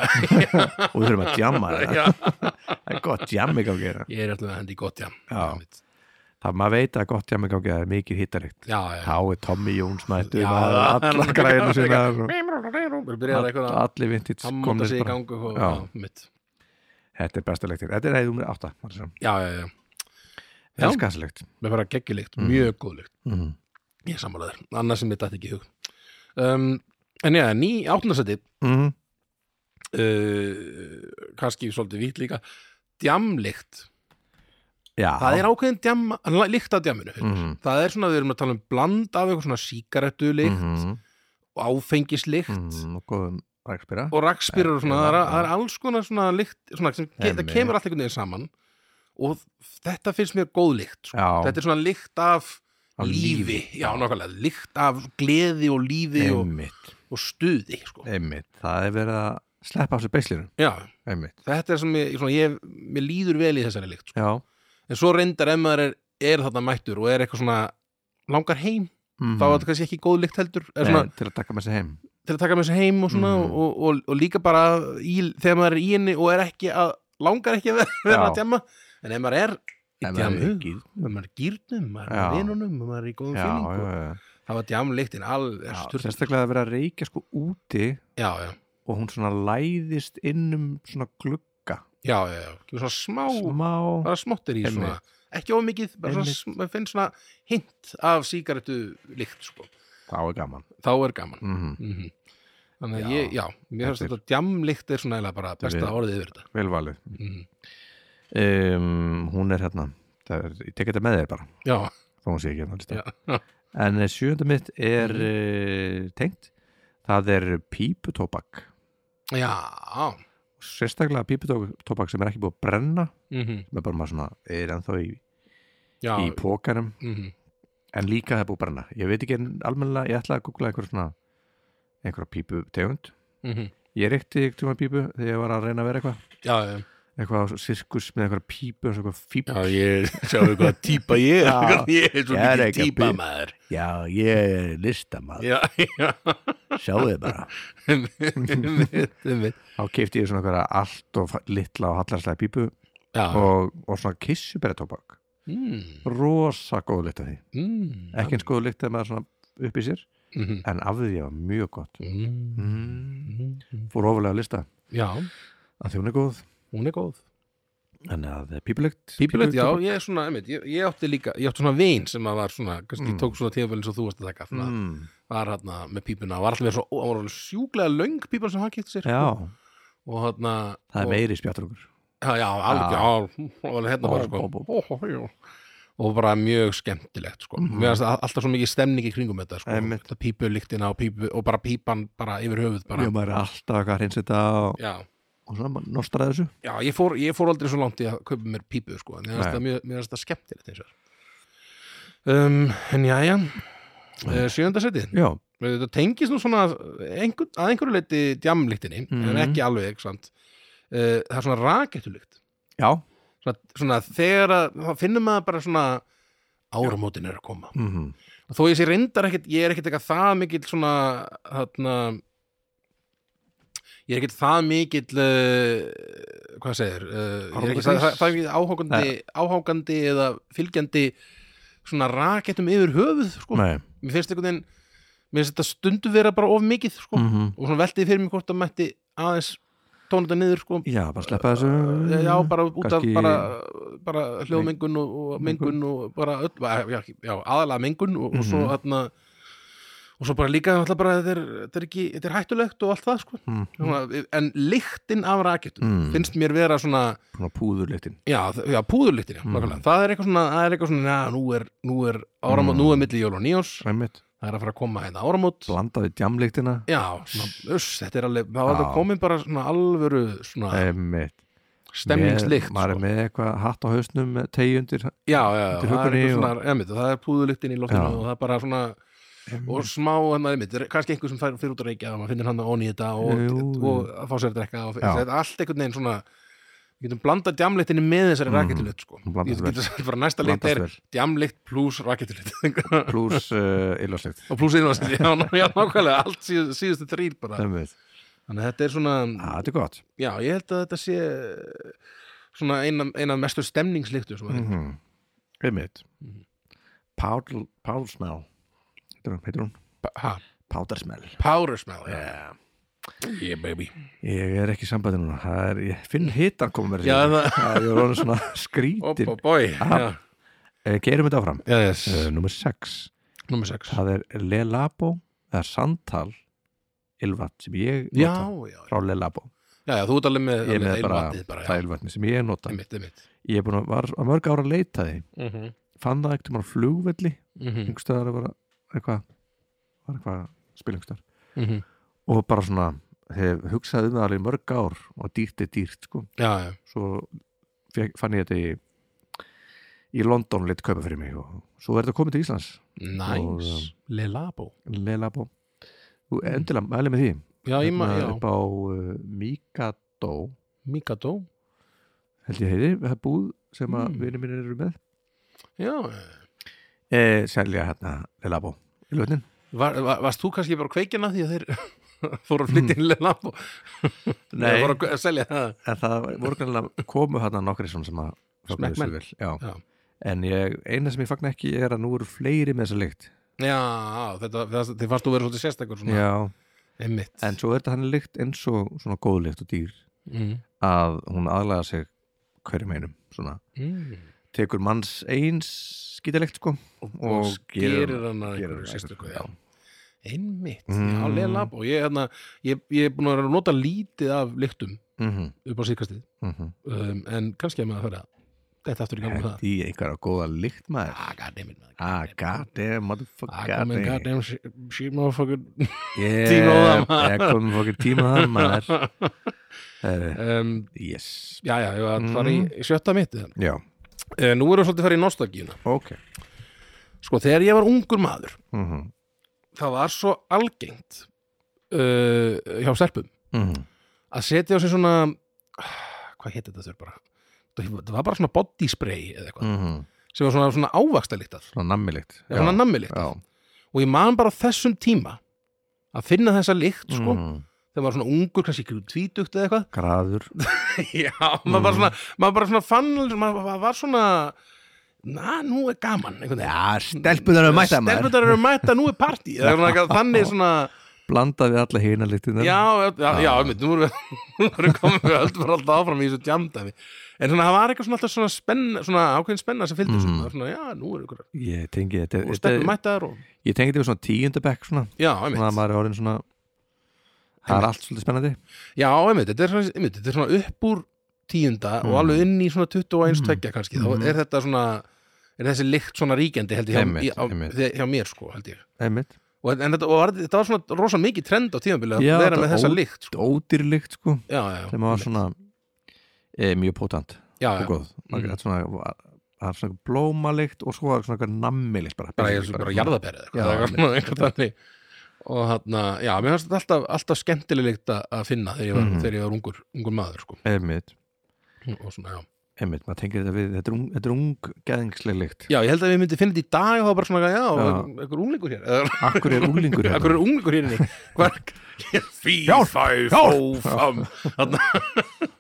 og við þurfum að djamma það já. það er gott jamming á gera ég er alltaf að hendi í gott, já, Já. Einmitt. það maður veit að gott jamming á gera er mikið hitalikt já, já, þá er Tommy Jóns mættur Já, maður, það- allar græðinu sína og Við byrjaði eitthvað að allir vintage hammóta komnir sig í bara. gangu og, Já. já, mitt. þetta er besta leiktir, þetta er heiðum með átta maður sem. já, já, já, Já. Mhm. elska þessa leikt með bara geggjulikt, Mm. mjög góð lykt mm. ég sammála þér, annars sem mitt ætti ekki í hug um, en já, ný áttundarsæti mm. uh, kannski svolítið vít líka djamlikt, já, það er ákveðin djam, líkt af djaminu mm. það er svona, við erum að tala um bland af eitthvað svona síkarettulikt mm. og áfengislikt mm. og góðum rækspýra og rakspýrar og svona, það er, Já. það er alls konar svona lykt, svona, sem, ge- það Einmitt. kemur allt einhvern veginn saman og þetta finnst mér góð lykt sko. Já. þetta er svona lykt af, Af lífi, lífi. já, nákvæmlega, lykt af gleði og lífi og, einmitt, og stuði sko. einmitt það er verið að sleppa á þessu beislinu já, einmitt, þetta er sem ég, svona, ég mér líður vel í þessari lykt sko. já en svo reyndar ef maður er, er þarna mættur og er eitthvað svona langar heim mm. þá er þetta kannski ekki góð lykt heldur er svona, til að taka með sér heim til að taka með þessu heim og svona Mhm. og, og, og líka bara í, þegar maður er í henni og er ekki að langar ekki að vera- vera að Já. djama en ef maður er í Ef maður er djamu, í gírnum. ef maður er í gýrnum maður er Já. í vinunum, maður er sko. í góðum já, já, fílingu já, það var djamlíktin alveg já. styrst sérstaklega að vera að reykja sko úti já, já, og hún svona læðist inn um svona glugga já, já, já, kemur svona smá, smá bara smottir í svona Einmitt. ekki of mikið, bara svona, Einmitt. sm- maður finnst svona hint af sígarettu líkt sko. þá er gaman þá er gaman mm -hmm. mm þannig Já. að ég, já, mér finnst Þetta þetta djamlíkt er svona eiginlega bara Þetta besta er- orðið yfir þetta velvalið mm. um, hún er hérna það er, ég tek þetta með þér bara já, þó hún sé ekki hérna á listanum. já, Mhm. en eh, sjöunda mitt er mm. tengt það er píputóbak já sérstaklega píputóbak sem er ekki búið að brenna mm sem er bara maður svona er ennþá í, já, í pókanum mm en líka það er búið að brenna ég veit ekki en almennilega, ég ætla að googla einhver svona einhverja pípu tegund -hmm. ég reykti ekki tíma pípu þegar ég var að reyna að vera eitthvað já, já, eitthvað á sirkus með einhverja pípu eins og eitthvað fíbl já ég sjáu hvað típa ég Já. er ég er svo Ég er ekki mikið að típa byrja. maður já, ég er listamað, já, já sjáu þið bara Einmitt, einmitt. þá keipti ég svona einhverja allt og fa- litla og hallarslega pípu já, og, og svona kissubera tóbak Mm, rosa góð lykt af því mm, ekki eins góð lykt að maður svona upp í sér mhm, en af því var mjög gott mm, mm. mhm. fór ofalega að lista já, að því hún er góð hún er góð en að pípulykt Pípilegt, já, ég er svona, einmitt, ég, ég átti líka ég átti svona vin sem að var svona kannski Mm. tók svona tíðafæl eins og þú varst að taka svona, mm. var hérna með pípuna var alltaf verið svo, ó, hann var alveg sjúklega löng pípan sem hann kipti sér já, sko. og hérna það og- er meiri spjáttrungur Já, já, alveg, já, alveg hérna bara, sko. Ó, bó, Ó, ó, ó. Og bara mjög skemmtilegt, sko. Mhm. Mér finnst að- alltaf svo mikið stemning í kringum þetta, sko. Einmitt. Þetta pípulíktina og pípu, og bara pípan bara yfir höfuð, bara. já, maður er alltaf að hrinsa þetta og, Já, og og svona nostraði þessu Já, ég fór, ég fór aldrei svo langt í að kaupa mér pípu sko, en mér finnst Nei. það mjög- mér finnst það skemmtilegt eins og um, En jæja uh, Sjöndasætið já, Þetta tengist nú svona einhver, að einhverju leiti djamlíktinni, en Mhm. ekki alveg uh, það er svona rakettulykt já, svona, svona þegar að þá finnum maður bara svona áramótin er að koma mm og þó ég sé reyndar ekkit, ég er ekkit eitthvað það mikill svona þarna ég er ekkit það mikill uh, hvað segir uh, ég er ekkit það, það, það er ekki áhákandi, áhákandi eða fylgjandi svona rakettum yfir höfuð sko. nei mér finnst einhvern veginn mér finnst þetta stundu vera bara of mikið sko. mm og svona veltið fyrir mér hvort að mætti aðeins tóna þetta niður sko. já, bara sleppa þessu já, bara út af Kannski- bara, bara hljóðmengun og, og mengun og bara öll, já, já, já, aðalega mengun og, og svo Mhm. hérna og svo bara líka náttúrulega bara þetta er, þetta er, ekki, þetta er hættulegt og allt það sko. Mhm. svona, en lyktin af rakettum Mm. finnst mér vera svona svona púðurleitin já, þ- já púðurlyktin, já, Mhm. nákvæmlega. það er eitthvað svona, það er eitthvað svona já, nú er, nú er áramót, Mm. nú er milli jól og nýjós Ræmitt. það er að fara að koma hérna áramót blandaði djamleiktina já, svona, uss, þetta er alveg það var Já. þetta komin bara svona alvöru svona Einmitt. Ah, stemningslykt Með- maður er sko. með eitthvað hatt á hausnum með tegjundir já, já, já, Undir það er huggunni eitthvað og- svona, emitt, það er púðulyktin í loftinu Já. og það er bara svona og smá, hann er emitt, kannski einhver sem fær fyrir út að reykja og maður finnir hann að onni þetta og, Jú, jú. og að fá sér að drekka og Já. þetta er allt einhvern veginn svona við getum blandað djamlyktinni með þessari mm. Mhm. rakettulykt sko. Hún blandast Ég vel. getum sagt bara næsta lykt er djamlykt plus rakettulykt pluss uh, illasleikt og plus innvast, já, ná- já, nákvæmlega allt síð, síðustu þrýr bara Einmitt. þannig að þetta er svona, Ah, Þetta er gott já, ég held að þetta sé eh, svona eina, eina mestu stemningslyktu sem að mm -hmm. Einmitt Mhm. Powder- Powder smell Heitir hún- heitir hún? ha, Powder smell power smell já. yeah. yeah baby Ég er ekki í sambandi núna Það er, Ég finn hitan koma mér Já, fyrir. það- Það er orðin svona skrítin Oppa Oh, boy Ah. Eh, Gerum þetta áfram Já, yes. uh, Númer 6 Númer 6 Það er Lelabo eða Santal Ylvat sem ég já, nota já, frá Lelabo já, já, þú ert alveg með Ég er með alveg bara ilmvatnið bara það Ylvatni sem ég nota Einmitt, einmitt Ég er búin að var að mörg ára að leita því Mhm, Fann það ekkert um á flugvelli mhm, einhverstaðar að vera eitthvað var eitthvað að spila einhverstaðar mhm. og bara svona hef hugsað um það alveg í mörg ár og dýrt er dýrt sko Já, já, svo fek, fann ég þetta í í London leitt kaupa fyrir mig og svo er þetta komið til Íslands Og, nice um, Lelabo Lelabo og endilega mæli með því Mm. Já, ég Hérna maður, já, upp á uh, Mikado Mikado held ég heiti, það er búð sem að Mm. mm. vinir mínir eru með Já, e, selja hérna Lelabo í lötnin var, var, varst þú kannski bara kveikina því að þeir fóru að flytja inn Lelabo Nei. Þeir fóru að selja það en það voru kannilega komu hérna nokkri svona sem að fögnuðu þessu Smekkmenn. vel, já. Já. en ég, eina sem ég fagna ekki er að nú eru fleiri með þessa lykt Já, þetta, það, þið fannst þú verið svolítið sérstakur svona já. Einmitt en svo er þetta hann lykt eins og svona góð lykt og dýr mm. að hún aðlaga sig hverjum einum svona, Mm. tekur manns eins skítalykt sko Og gerir- gerir hann að gerir- einhverju sérstöku já. Einmitt, Mm. já, Lelabo Ég, hérna, ég, ég er búin að vera að nota lítið af lyktum Mhm, upp á síkastið mhm. um, en kannski að maður fyrir að þetta aftur í gangi með það Hendi í einhverja góða lykt maður Ah, goddammit maður ah, god damn, Ah, motherfucker come and god damn goddamn sh- shit motherfucker tíma á það, yeah, maður. ég kom fokkin tíma á það maður Herri, um, yes Já, já, ég var að fara Mm. í sjötta mitt eða? já, Eh, Nú erum við svolítið að fara í nostalgíuna ok Sko, þegar ég var ungur maður mhm, það var svo algengt uh, hjá stelpum mhm að setja á sig svona hvað hétt þetta þurr bara það var bara svona body spray eða eitthvað mm -hmm. sem var svona, svona ávaksta líktað svona nammilikt svona nammi já, líktað og ég man bara á þessum tíma að finna þessa líkt sko Mhm. þegar maður var svona ungur, kannski ykkur tvítugt eða eitthvað graður já, maður Mm. bara svona maður bara svona fann, maður maður var svona na, nú er gaman einhvern veginn já, stelpunar eru mæta maður Stelpurnar eru mætta, nú er partí eða svona eitthvað þannig svona blanda við alla hina líktina já, já, já, Ah. einmitt, nú erum við nú erum við komið við öll bara alltaf áfram í þessu djamdæmi en svona, það var eitthvað svona alltaf svona spenna svona ákveðin spenna sem fylgdi þessu Mhm. mm. svona, já, nú er ykkur ég tengi þetta, og stelpur þetta mættar og ég tengi þetta við svona tíundabekk svona já, svona að einmitt, maður er orðin svona það er allt svolítið spennandi já, einmitt, þetta er svona, einmitt, þetta er svona upp úr tíunda og Mhm. alveg inn í svona 21 Mhm. tökja kannski, Mhm. þá er þetta svona er þessi lykt svona ríkjandi held ég hjá, Einmitt, í, á, einmitt. hjá mér sko, held ég einmitt og, en þetta, og var, þetta var svona rosa mikið trend á tímabilið Já, að vera þetta með þessa ó- lykt sko. ódýrlíkt sko já, já, já, sem var svona e, mjög potent já, og Mm. já, góð það er svona, var- það er svona blómalikt og svo var svona eitthvað nammilikt bara, bara ég er bara jarðaberið Já, eitthvað og hann, já, mér finnst þetta alltaf, alltaf skemmtilegt að finna þegar ég var, Mhm. þegar ég var ungur, ungur maður sko. einmitt, og svona, já. einmitt, maður tengir þetta við þetta er ung- þetta er unggeðingsleg lykt já, ég held að við myndi finna þetta í dag og það var bara svona, já, Já. einhver unglingur hér eða akkur er unglingur hérna? Akkur er unglingur hérinni Því, Hjálp, fæ, hjálp. fám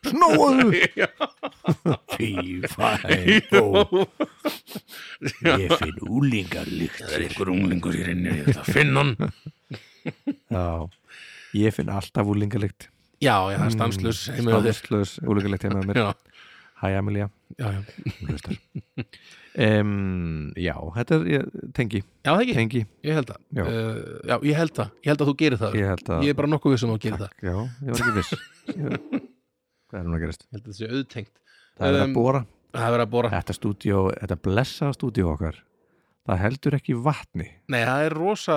snóðu Já. fí, fæ, bó ég finn unglingarlykt Það er einhver unglingur hér inni, ég ætla að finna hann já, ég finn alltaf unglingarlykt Já, já, það er stanslös heima á þér stanslös unglingarlykt heima á mér Já, hæ Amelia já, já um, já, þetta er ég, tengi, Já, það ekki, tengi ég held það Já. uh, Já, ég held það, ég held að þú gerir það ég held að Ég er bara nokkuð vissum að þú gerir það Já, ég var ekki viss Ég- Hvað er núna að gerast? Ég held að það sé auðtengt Það er Um, að bóra Það er verið að bóra Þetta stúdíó, þetta blessaða stúdíó okkar Það heldur ekki vatni Nei, það er rosa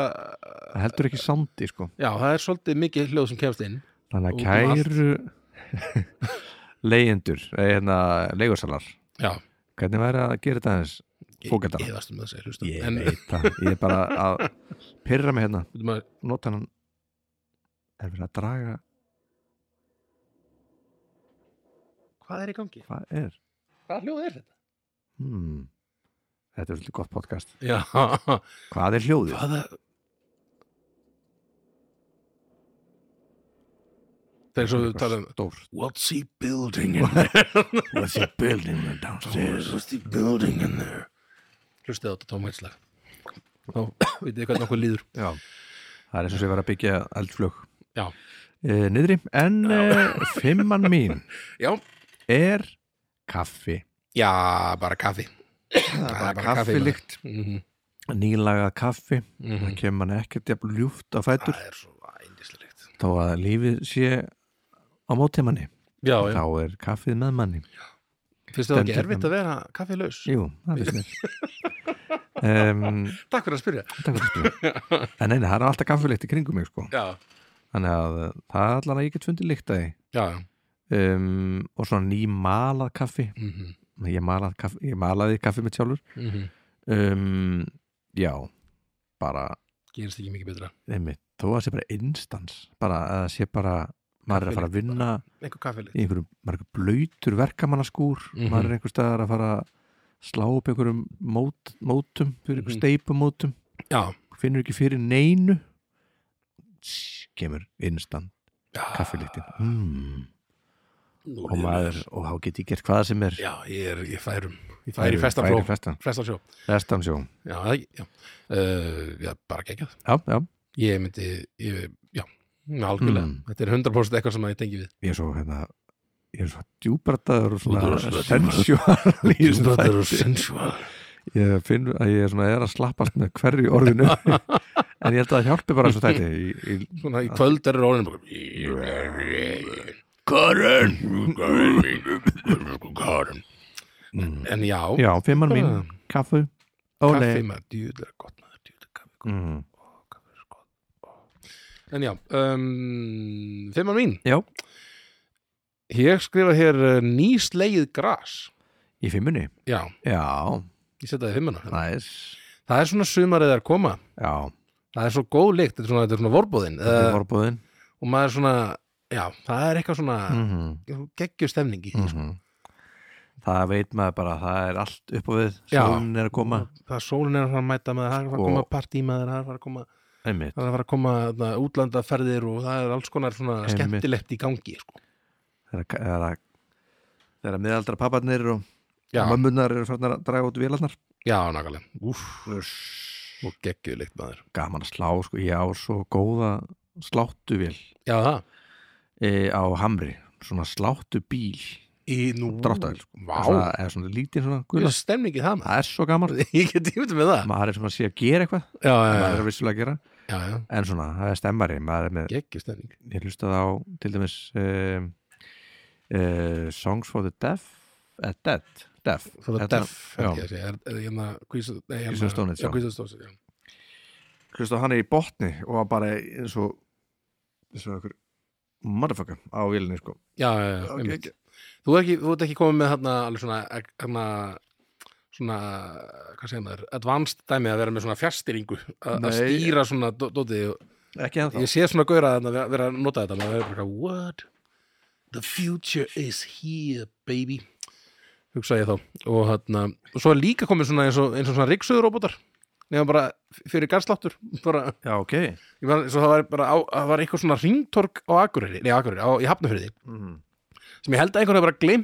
Það heldur ekki sandi, sko Já, það er svolítið mikið hljóð sem kemst inn Þannig Út um að kæru leigjendur eh, hérna, leigursalar Já, Hvernig væri að gera þetta aðeins? Fókaldana. Ég varst um það að segja, hlusta Ég En, eh, veit það, ég er bara að pyrra mig hérna, veitum að, nota hann Er verið að draga, hvað er í gangi? hvað er? Hvað hljóð er þetta? Hmm. Þetta er svolítið gott podcast Já, Hvað er hljóðið? hvaða Það er svo við tala um Stórt What's he building in there? What's he building downstairs? What's he building in there? Hlustið á þetta tómhætslag Þá veit ég hvernig okkur líður Já, það er eins og sé verið að byggja eldflög Já. Eh, Niðri, en eh, fimman mín Já, er kaffi já bara kaffi Það er bara kaffi, kaffilykt, Mhm, nýlaga kaffi það mhm. kemur hann ekkert jafn ljúft á fætur Það er svo ændislega þó að lífið sé á móti manni Já, já, þá er kaffið með manni finnst það ekki stendur erfitt að vera kaffilaus? Jú, það finnst mér um, Takk fyrir að spyrja Takk fyrir spyrir En neina, það er alltaf kaffilykt í kringum mig sko Já, Þannig að eh, það er allan að ég get fundið lykt að því já, já um, og svona nýmalað kaffi mhm, ég, malað kaffi, ég malaði kaffi mitt sjálfur mhm. um, já bara, Gerist ekki mikið betra einmitt, þó að það sé bara instans, bara að það sé bara maður er að fara að vinna Einhver kaffilykt í einhverjum, maður er einhver blöytur verkamannaskúr Mhm. maður er einhver staðar að fara að slá upp einhverjum mót, mótum fyrir einhverjum Mhm. steipumótum Já, finnur ekki fyrir neinu Tss, kemur instant já kaffilíktin mm. Nú og líður maður, og þá get ég gert hvað sem er Já, ég er, ég færum Ég færi í festan Færi fló, í festan, festan sjó festan sjó Já, það ekki, já uh, Já, bara geggjað já, já, Ég myndi, ég, já, algjörlega Mm. Þetta er 100% eitthvað sem að ég tengi við ég er svo hérna ég er svo djúbrataður og Þú ert svona rosalega sensual í þessum Djúbræður og þætti. sensual ég finn að ég er svona er að slappast með hverju orðinu en ég held að það hjálpi bara svo þætti í, í, Svona í kvöld er orðin bara Karen Karen mm. En já, já, fimmar mín, Ah. kaffu óle kaffi maður djúðlega gott maður djúðlega kaffi gott mm. Ó, kaffi er gott. Ó. En já, um, fimmar mín já, Ég skrifa hér uh, nýslegið gras í fimmunni Já, já, ég setja það í fimmuna næs Það er svona sumarið að koma já, Það er svo góð lykt, þetta er svona, þetta er svona vorbóðin þetta uh, er vorbúðin og maður er svona, já, það er eitthvað svona mm mm. geggjur stemningi mm. Mhm. það veit maður bara að það er allt upp á við Já. sólun er að koma það er sólin er að fara að mæta með það er að fara að Og- koma partí með það er að fara að koma einmitt, það er að fara að koma na, útlandaferðir og það er alls konar svona Einmitt. skemmtilegt í gangi sko. þegar þegar að þegar að miðaldra papparnir og já, mömmunar eru farnar að draga út vélarnar já, nákvæmlega Úff, og geggjur lykt maður gaman að slá, sko, ég á svo góða sláttuvél Já, það e, á Hamri svona sláttubíl Í nú Dráttarvél, Vá, svona, eða svona lítið svona það gula er stemningi það maður það er svo gaman, Ég get tímut með það maður er svona að sé að gera eitthvað Já, maður já, er vissulega að gera, já, já, já. en svona það er stemmari, maður er með geggjur stemning ég hlustaði á til dæmis e, e, Songs for the Deaf eða Dead, Deaf For the Þetta- Deaf held ég að segja. er, er, er, hérna, Queens of- nei, Queens of Stone Age, já, já. Queens of Stone Age, já. hlusta hann er í botni og var bara eins og eins og einhver motherfucker á vélinni sko já, já, já, Ok, einmitt. ok. Þú ert ekki, þú ert ekki komið með hérna alveg svona, hérna, svona, hvað segir maður, advanced dæmi að vera með svona fjastýringu, að að Nei. stýra svona dó- dótið. og- ekki ennþá Ég sé svona gauðra að vera vera að nota þetta, maður er bara, eitthvað, what? The future is here, baby. Hugsa ég þá. Og hérna, og svo er líka komið svona eins og, eins og svona ríksuðuróbótar, nefnum bara fyrir garsláttur, bara... já ok Ég man, svo það var bara, á, það var eitthvað svona ringtork á Akureyri, nei Akureyri, á, í Hafnafyrði mm. sem ég held að einhvern veginn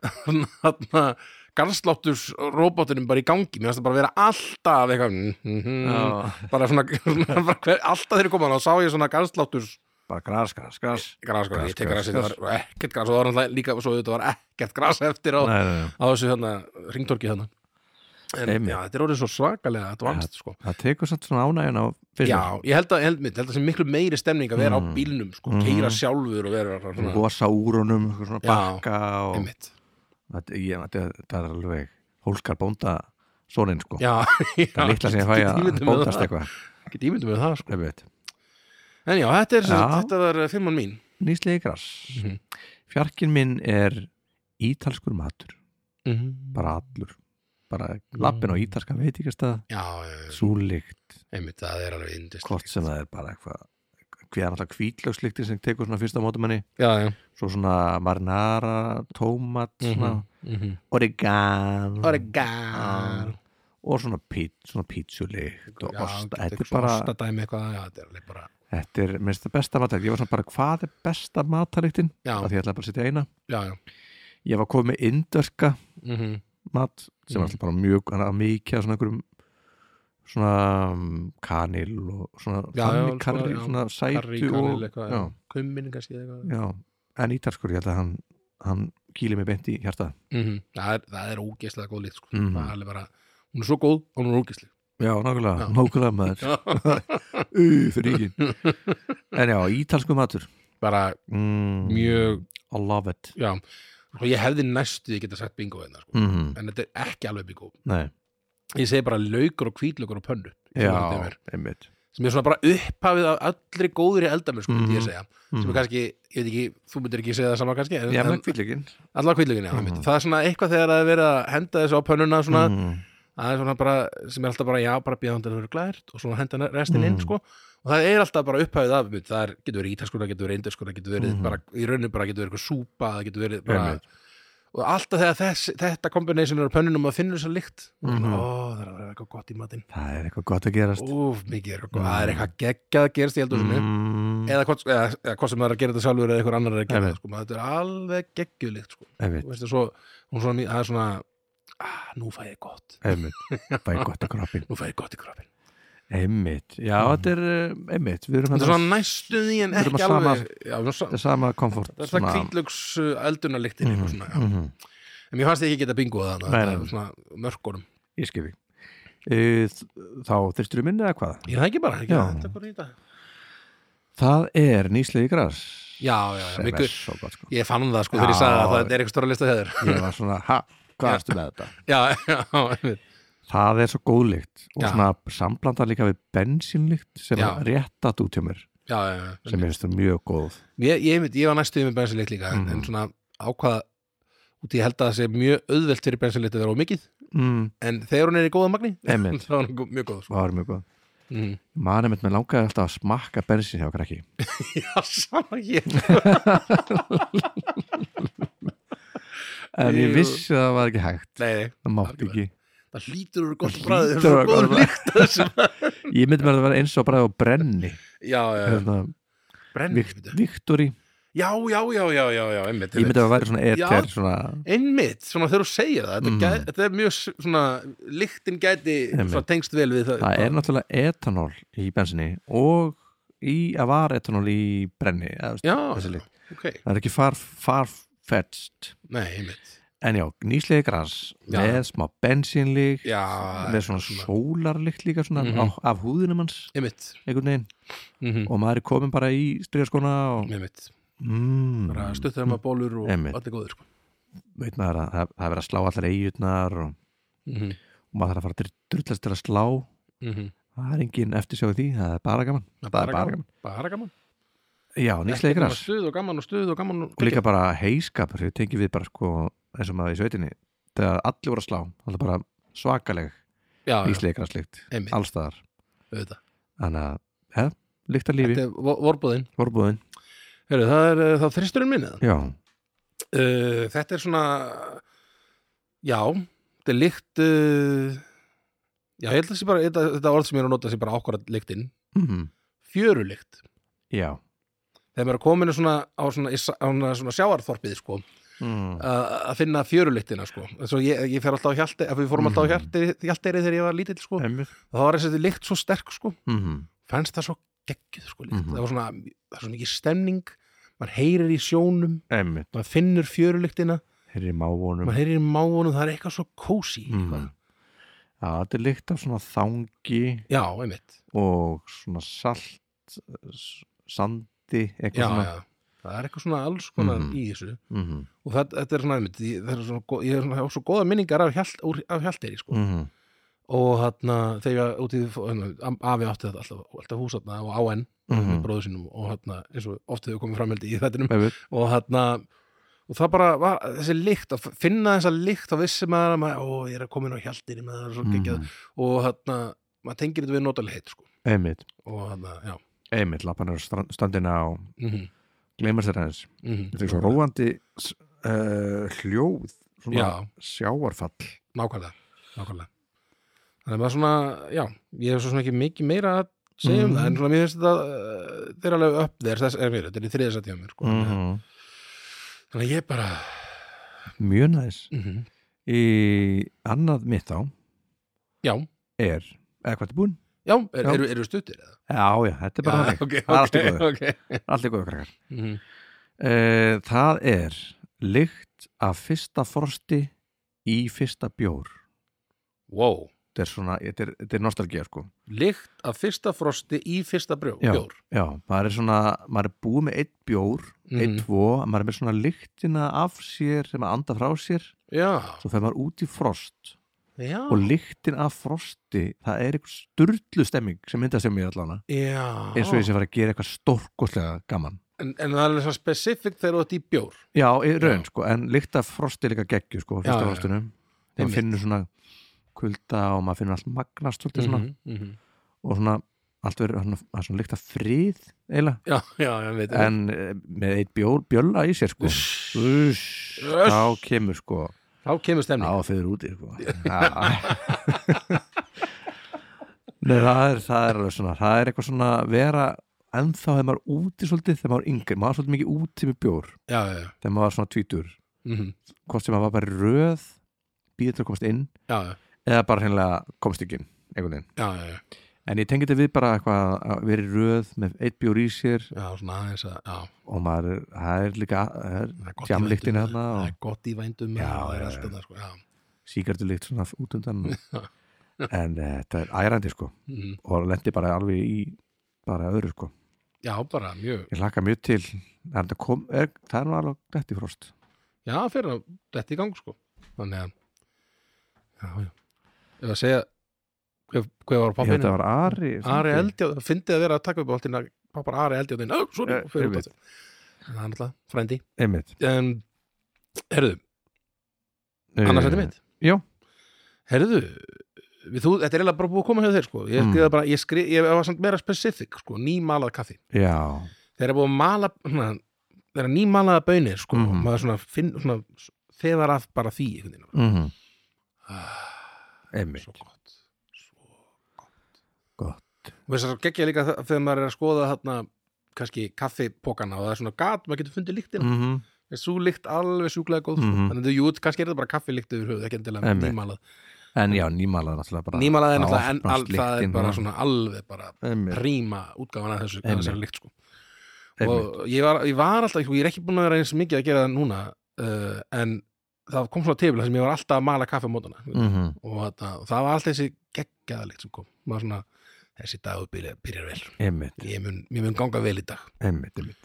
bara glimt garðslátturs robotinum bara í gangi mér finnst það bara vera alltaf eitthvað mm -hmm, Já. bara svona, svona bara hver, alltaf þegar ég kom að þá sá ég svona garðslátturs bara gras, gras, gras gras, gras, Gras, sko. ég tek gras, gras, það var ekkert gras og það var náttúrulega líka svo þetta var ekkert gras eftir á, nei, nei, nei. á þessu hérna, ringtorki hérna en Einmitt. já, þetta er orðið svo svakalega advanced sko það tekur samt svona ánægjun á Já, ég held að, ég held, mitt, held að sem miklu meiri stemning að vera á Mm. bílnum, sko, Mhm. keira sjálfur og vera svona, hosa úr honum eitthvað svona Já, bakka og einmitt þetta, ég, þetta, þetta er alveg hólkar bónda soninn sko Já, það er litla sem ég fæ að bóndast eitthvað Get ímyndum með það, sko einmitt. En já, þetta er, já. Já. þetta var filman mín nýslegi gras Mhm. fjarkinn minn er ítalskur matur Já, bara allur bara lappin á Mm. ítalska veitingastað já, súlikt, einmitt, það er alveg indist hvort sem það er bara eitthvað hver er alltaf kvítlökslíktin sem tekur svona fyrst á mótum henni Já, já svo svona marinara, tómat svona Mhm. oregano Oregano. og svona, pít, svona pítsulikt og Já, osta, getur þetta er svona bara Ostadæmi eitthvað, já, þetta er alveg bara þetta er minnst það besta matarlíkt, ég var svona bara hvað er besta matarlíktin Já, af því ég ætla bara að setja eina já, já ég var komið með indörka Mhm. mat sem Mhm. var alltaf bara mjög hann var mikið af svona einhverjum svona um, kanil og svona Já, þannig já, karri, svona, já, svona sætu Karri, og, kanil, eitthvað já, Kummin, kannski eitthvað já, en ítalskur ég held að hann, hann kýli mig beint í hjarta Mhm. Það er- það er ógeðslega góð líkt, sko Mhm. Það er alveg bara, hún er svo góð og hún er ógeðslega já, nákvæmlega, Já. nákvæmlega maður uh, fyrir ekki en já, ítalskur matur bara mm, mjög, I love it já og ég hefði næstu því geta sagt bingo hérna, sko. mm, en þetta er ekki alveg bingo nei, ég segi bara laukur og hvítlaukur og pönnu sem já, þetta er. einmitt sem er svona bara upphafið af allri góðri eldamur sko, myndi ég Mhm. segja, sem er mm. kannski ég veit ekki, þú myndir ekki segja það sama kannski en, já, með en kvílíkin allar hvítlaukin, já, Mhm. mm. það er svona eitthvað þegar það er verið að henda þessu á pönnuna svona, mm, það er svona bara, sem er alltaf bara já, bara býða hann til að vera glært og svona henda restin inn, Mhm. sko og það er alltaf bara upphæfið af mynd. það er, getur verið ítalskur, það getur verið inderskur það getur verið Mhm. bara, í rauninu bara getur verið eitthvað súpa það getur verið bara, Einmitt. og alltaf þegar þess, þetta kombination er á pönnunum að finna þess að lykt mm Mhm. ó, það er að vera eitthvað gott í matinn það er eitthvað gott að gerast óf, mikið er eitthvað gott, Mhm. það er eitthvað geggjað að gerast í eldhúsinu mm, eða hvort eða, eða, hvort sem það er að gera þetta sjálfur eða eitthvað annar er að gera Einmitt. þetta, sko, maður- þetta er alveg geggjuð lykt, sko, einmitt Þú veist, svo, hún svona, mý- það er svona ah, nú fæ ég gott, einmitt, það er gott að kroppin nú fæ ég gott í kroppin einmitt, já Mhm. þetta er eh, einmitt, við erum að Þetta er svona næstu því en Við erum ekki að sama- alveg já, við erum sa- þetta er sama komfort Það er það kvítlöks eldunarlyktin mm svona, já. -hmm. En mér fannst ég ekki geta bingoð þannig Nei, Þetta nei. er svona mörkunum ég skipi e, þá þyrstur við minni eða hvað Ég það ekki bara, ekki Já. þetta er bara í dag það er nýslegi græs Já, já, já, sem er mikið svo gott sko Ég fann það sko þegar ég Já. sagði að það er eitthvað stóra lista hefur ég var svona, ha, hvað erstu með þetta Já, já, einmitt. það er svo góðlíkt og Já. svona samblandar líka við bensínlíkt sem Já. er réttat út hjá mér já, já, já sem er þetta mjög góð ég, ég, einmitt, ég var næstu því með bensinleitt líka en- Mhm. En svona ákvað út í ég held að það sé mjög auðvelt fyrir bensinleitt að vera ómikið mm, En þegar hún er í góða magni Einmitt. þá er hún gó- mjög góð sko. það var mjög góð mm. manið mitt með langaði alltaf að smakka bensin hjá krakki Já, sama ég en ég Jú. vissi að það var ekki hægt Nei, nei, það mátti Algjörlega. ekki það hlýtur úr gott Það bræði hlýtur Það að vera gott er svo góð bragð. líkt þessum Ég myndi mér að það vera eins og bara á brenni Já, já, já hérna, Brenni, Vikt, bíddu. Viktori já, já, já, já, já, já, einmitt Ég myndi að það væri svona eter Já. svona, Einmitt, svona þegar þú segir það þetta, Mhm. gæ, þetta er mjög s- svona, lyktin gæti Einmitt. svona tengst vel við það Það er náttúrulega etanól í bensinni og í að var etanól í brenni eða, þú veist, Já, þessi lykt. ok, Það er ekki far, farfetched nei, einmitt En já, nýslegi gras Já. með smá bensínlík Já, með svona sólarlíkt líka svona Mhm. á, af húðinum hans einmitt einhvern veginn mm og maður er komin bara í stríðaskona og Einmitt, mm, bara stuttar maður bólur og Einmitt. allir góður sko. veit maður að það, það er verið að slá allar eigutnar og, mm og maður þarf að fara að drullast til að slá -hmm. það er engin eftir sjáðu því, það er bara gaman Það er bara gaman. bara gaman Já, nýslega Ekkert nema græs stuð og gaman og stuð og gaman og, og líka bara heiskapur, þau tengjum við bara sko eins og maður í sveitinni þegar allir voru að slá, það er bara svakaleg já, já, nýslega græslikt, einmitt, allstaðar auðvitað Þannig að, hef, líkt að lífi, Þetta er vo- vorbúðin vorbúðin Heru, það er eh, þá þristurinn minn eða? Já, uh, Þetta er svona Já, þetta er líkt uh, Já, ég held að sé bara þetta, þetta orð sem ég er að nota sé bara ákvarð líktinn mhm, Fjörulíkt já Þegar maður er kominu svona á svona, í sa- á svona, svona sjáarþorpið sko, mm. að að finna fjörulíktina sko. Svo ég, ég fer alltaf á hjalti, ef við fórum alltaf á Mhm. hjalti, hjalteiri þegar ég var lítill sko. Einmitt Það var þessi líkt svo sterk sko. Mhm, Fannst það svo geggjuð sko, líkt. Mhm. Það var svona, það var svo mikið stemning maður heyrir í sjónum, Einmitt, maður finnur fjörulíktina hér er mávonum maður heyrir í máunum, það er eitthvað svo kósi mm. Já, þetta er líkt af svona þangi já, einmitt og svona salt s- sandi, eitthvað já, svona já. það er eitthvað svona alls konar Mhm. í þessu Mhm, og það, þetta er svona einmitt ég- það er svona, gó- ég er svona, hef svo góða minningar af, hjalt, úr, af hjalteiri sko. mhm, og þarna þegar ég var úti fó- hérna, am- afi átti þetta alltaf, alltaf hús þarna og áenn með mhm bróður sínum og þarna eins og oft hefur komið framhaldi í þettinum Einmitt, og þarna og það bara var þessi lykt að finna þessa lykt að vissi maður að maður, ó ég er að koma inn á hjaltinni með það er svo geggjað mhm, og þarna, maður tengir þetta við notalegheit sko. einmitt og þarna, já Einmitt, lappan er standina og mhm gleymar sér aðeins mm Þetta er svo róandi s- uh, hljóð svona Já, sjáarfall nákvæmlega, nákvæmlega. Þannig að maður svona, já, ég hef svo svona ekki mikið meira að segja um Mhm. það, en svona mér finnst þetta, uh, þetta er alveg upp þér, þess er mér, þetta er í þriðisætti hjá mér, sko. Mhm. Þannig að ég bara, Mjög næs mm Í annað mitt á já, er, eða hvað er búin? já, er, Já. Eru, eru stuttir eða? Já, já, þetta er bara Já, þannig ok, Það er allt í ok, góðu. ok. Allt er góðu krakkar Mhm. Uh, það er lykt af fyrsta frosti í fyrsta bjór Wow, þetta er svona, þetta er, þetta er nostalgía sko lykt af fyrsta frosti í fyrsta brjó, Já. bjór. já, maður er svona, maður er búið með eitt bjór Mhm. eitt tvo, maður er með svona lyktina af sér sem maður anda frá sér Já, svo fer maður út í frost já, og lyktin af frosti, það er eitthvað sturdlu stemming sem myndast hjá mér allana já. eins og ég sé að fara að gera eitthvað stórkoslega gaman En, en það er svona spesifik þegar þú ert í bjór. Já, í raun Já. sko, en líkt að frosti líka geggju sko, á Já, fyrsta já, já. frostinum maður Einmitt. finnur svona kulda og maður finnur allt magnast svolítið svona Mhm, mhm. og svona allt verður svona, það er svona líkt að frið eiginlega, Já, já, ég veit. en eh, með eitt bjór, bjölla í sér sko Uss. Uss, Uss. þá kemur sko Þá kemur stemning. þá fyrir úti sko Já. Nei, það er, það er alveg svona það er eitthvað svona vera ennþá þegar maður úti svolítið, þegar maður yngri maður var svolítið mikið úti með bjór, Já, já, já. þegar maður var svona tvítur Mhm. hvort sem maður var bara í röð býðið til að komast inn já, já, eða bara hreinlega komst ekki inn einhvern veginn. já, já, já. En ég tengi þetta við bara eitthvað að vera í röð með eitt bjór í sér já, svona aðeins að, já, og maður, er- það er líka það er það er gott í Tjamlyktin vændum, þarna og- Það er gott í vændum Já, það er já, allt já. þetta, sko, já síkartulikt svona út undan en e, þetta er ærandi sko Mhm. og lendi bara alveg í bara öðru sko. Já, bara mjög, Ég hlakka mjög til en það, kom, er, það er nú alveg dætt í frost já, fyrir að þetta í gang, sko Þannig að, já, já Ef að segja, hver, hver var Ég veit að pappinu? það var Ari Ari Sandi. Eldjáð, fyndið að vera að taka upp á alltaf pappar Ari Eldjáð, ná, svona, Eh, fyrir út einmitt. aftur Það er náttúrulega, frændi Einmitt um, Herðu, annars þetta mitt Eh, já. Herðu, við þú, þetta er eiginlega bara búið að koma hjá þér, sko Ég, Mm. mm. bara, ég, skri, ég var samt meira specific, sko, nýmalað kaffi Já, þeir eru búið að mala svona, þeir eru nýmalaða bönir sko, Mhm. og maður svona, finn, svona þegar að bara því einhvern veginn mm -hmm. ah, einmitt svo gott svo Gott. og þess að geggja líka það- þegar maður er að skoða þarna kannski kaffipokana og það er svona gat maður getur fundið lyktina, mm -hmm. mm. svo lykt alveg sjúklega góð, mm Mhm. þannig að jú, kannski er þetta bara kaffilykt yfir höfuð, ekki endilega Einmitt. nýmalað En já, nýmalað er náttúrulega bara nýmalað er það náttúrulega, en opnast all, það er lyktin, bara já. svona alveg bara Einmitt. príma útgáfana þessu, Einmitt. þessari lykt sko Einmitt. og ég var, ég var alltaf, sko, ég er ekki búin að vera eins mikið að gera það núna uh, en það kom svona tefla sem ég var alltaf að mala kaffi á mótana Mhm. og, þarna- og það var alltaf þessi geggjaðalikt sem kom maður svona, þessi dagur byrjar, byrjar vel einmitt, ég mun, ég mun ganga vel í dag einmitt, einmitt,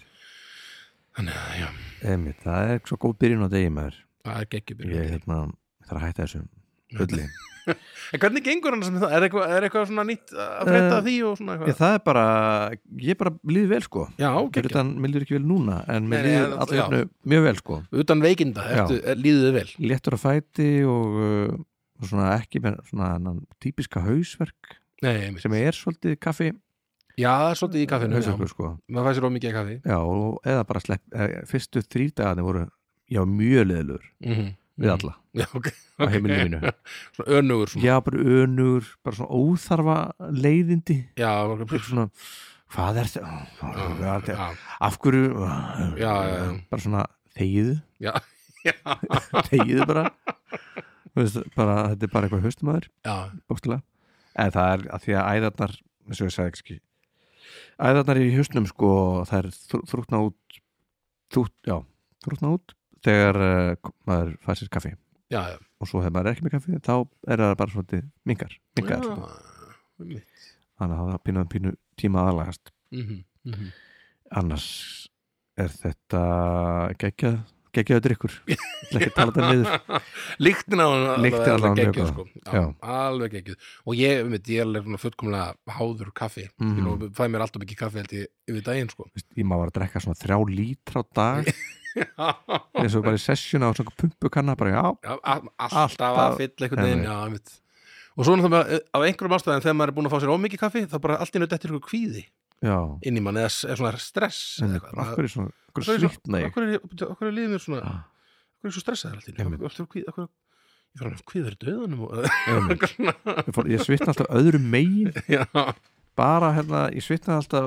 þannig að já, einmitt það er svo góð byrjun á degi maður það er geggjubyrjun ég hérna, þarf að hætta þessu öllu Mm. En hvernig gengur hann sem það? Er eitthvað, er eitthvað svona nýtt að breyta Eh, því og svona Ég, eitthvað? það er bara, ég bara líði vel sko Já, Fyrir geggjum. utan, mér líður ekki vel núna en mér Nei, nei, líður en- allir já. hérna mjög vel sko Utan veikinda, Já. ertu, er, líðuðu vel. Léttur á fæti og uh, svona ekki með svona þennan típiska hausverk Nei, einmitt. sem er svolítið kaffi Já, það er svolítið í kaffinu. Já. hausverkur sko Maður fæ sér ómikið af kaffi. Já, og, eða bara slepp, eða, fyrstu þrýr dagarnir voru já, mjög leðlur Mm Mhm. -hmm. við alla Já, ok. á heimilinu mínu Svona önugur svona. Já, bara önur, bara svona óþarfa leiðindi Já, Bara svona, hvað er þetta já, af hverju eh, Já, já, já. bara svona þegiðu já, já, þegiðu bara Þú veist, bara, þetta er bara eitthvað haustumæður já, bókstilega en það er að því að æðarnar eins og ég sagði ekki æðarnar í hausnum sko það er þrútna út þrút, já, þrútna út þegar uh, maður fær sér kaffi já, já. og svo hefur maður ekki með kaffi þá er það bara svolítið mingar, mingar Já, sko. einmitt. þannig að það pínuðum pínu tíma að aðlagast Mhm, mhm. annars er þetta geggjað geggjaðu drikkur Ég ætla ekki að tala þetta niður Líktin á hann Lyktin allavega mjög góð. geggjuð, sko. Já. já, alveg geggjuð og ég, um ég er alveg svona fullkomlega háður kaffi mm Mhm. -hmm. fæ mér alltaf mikið kaffi held ég yfir daginn sko. Veist, ég maður var að drekka svona þrjá lítra á dag eins og bara í sessjuna á svona pumpukanna bara já, Já, a- alltaf Alltaf. að fylla einhvern veginn já, einmitt. og svo náttúrulega bara, eh, af einhverjum ástæðan þegar maður er búin að fá sér ómikið kaffi þá bara allt í nöðu eftir ykkur kvíði já inn í mann eða s- eða svona stress en bara, eða af eitthvað. hverju svona, af Af hverju hverju er svo- svitna af ég hverju er ég- af hverju líður mér svona Ah, af hverju er ég svo stressaður alltaf Einmitt. ég fyrir hann kvíðar í döðanum og, einmitt. ég, fór- ég svitna alltaf öðru megin já, bara hérna, ég svitna alltaf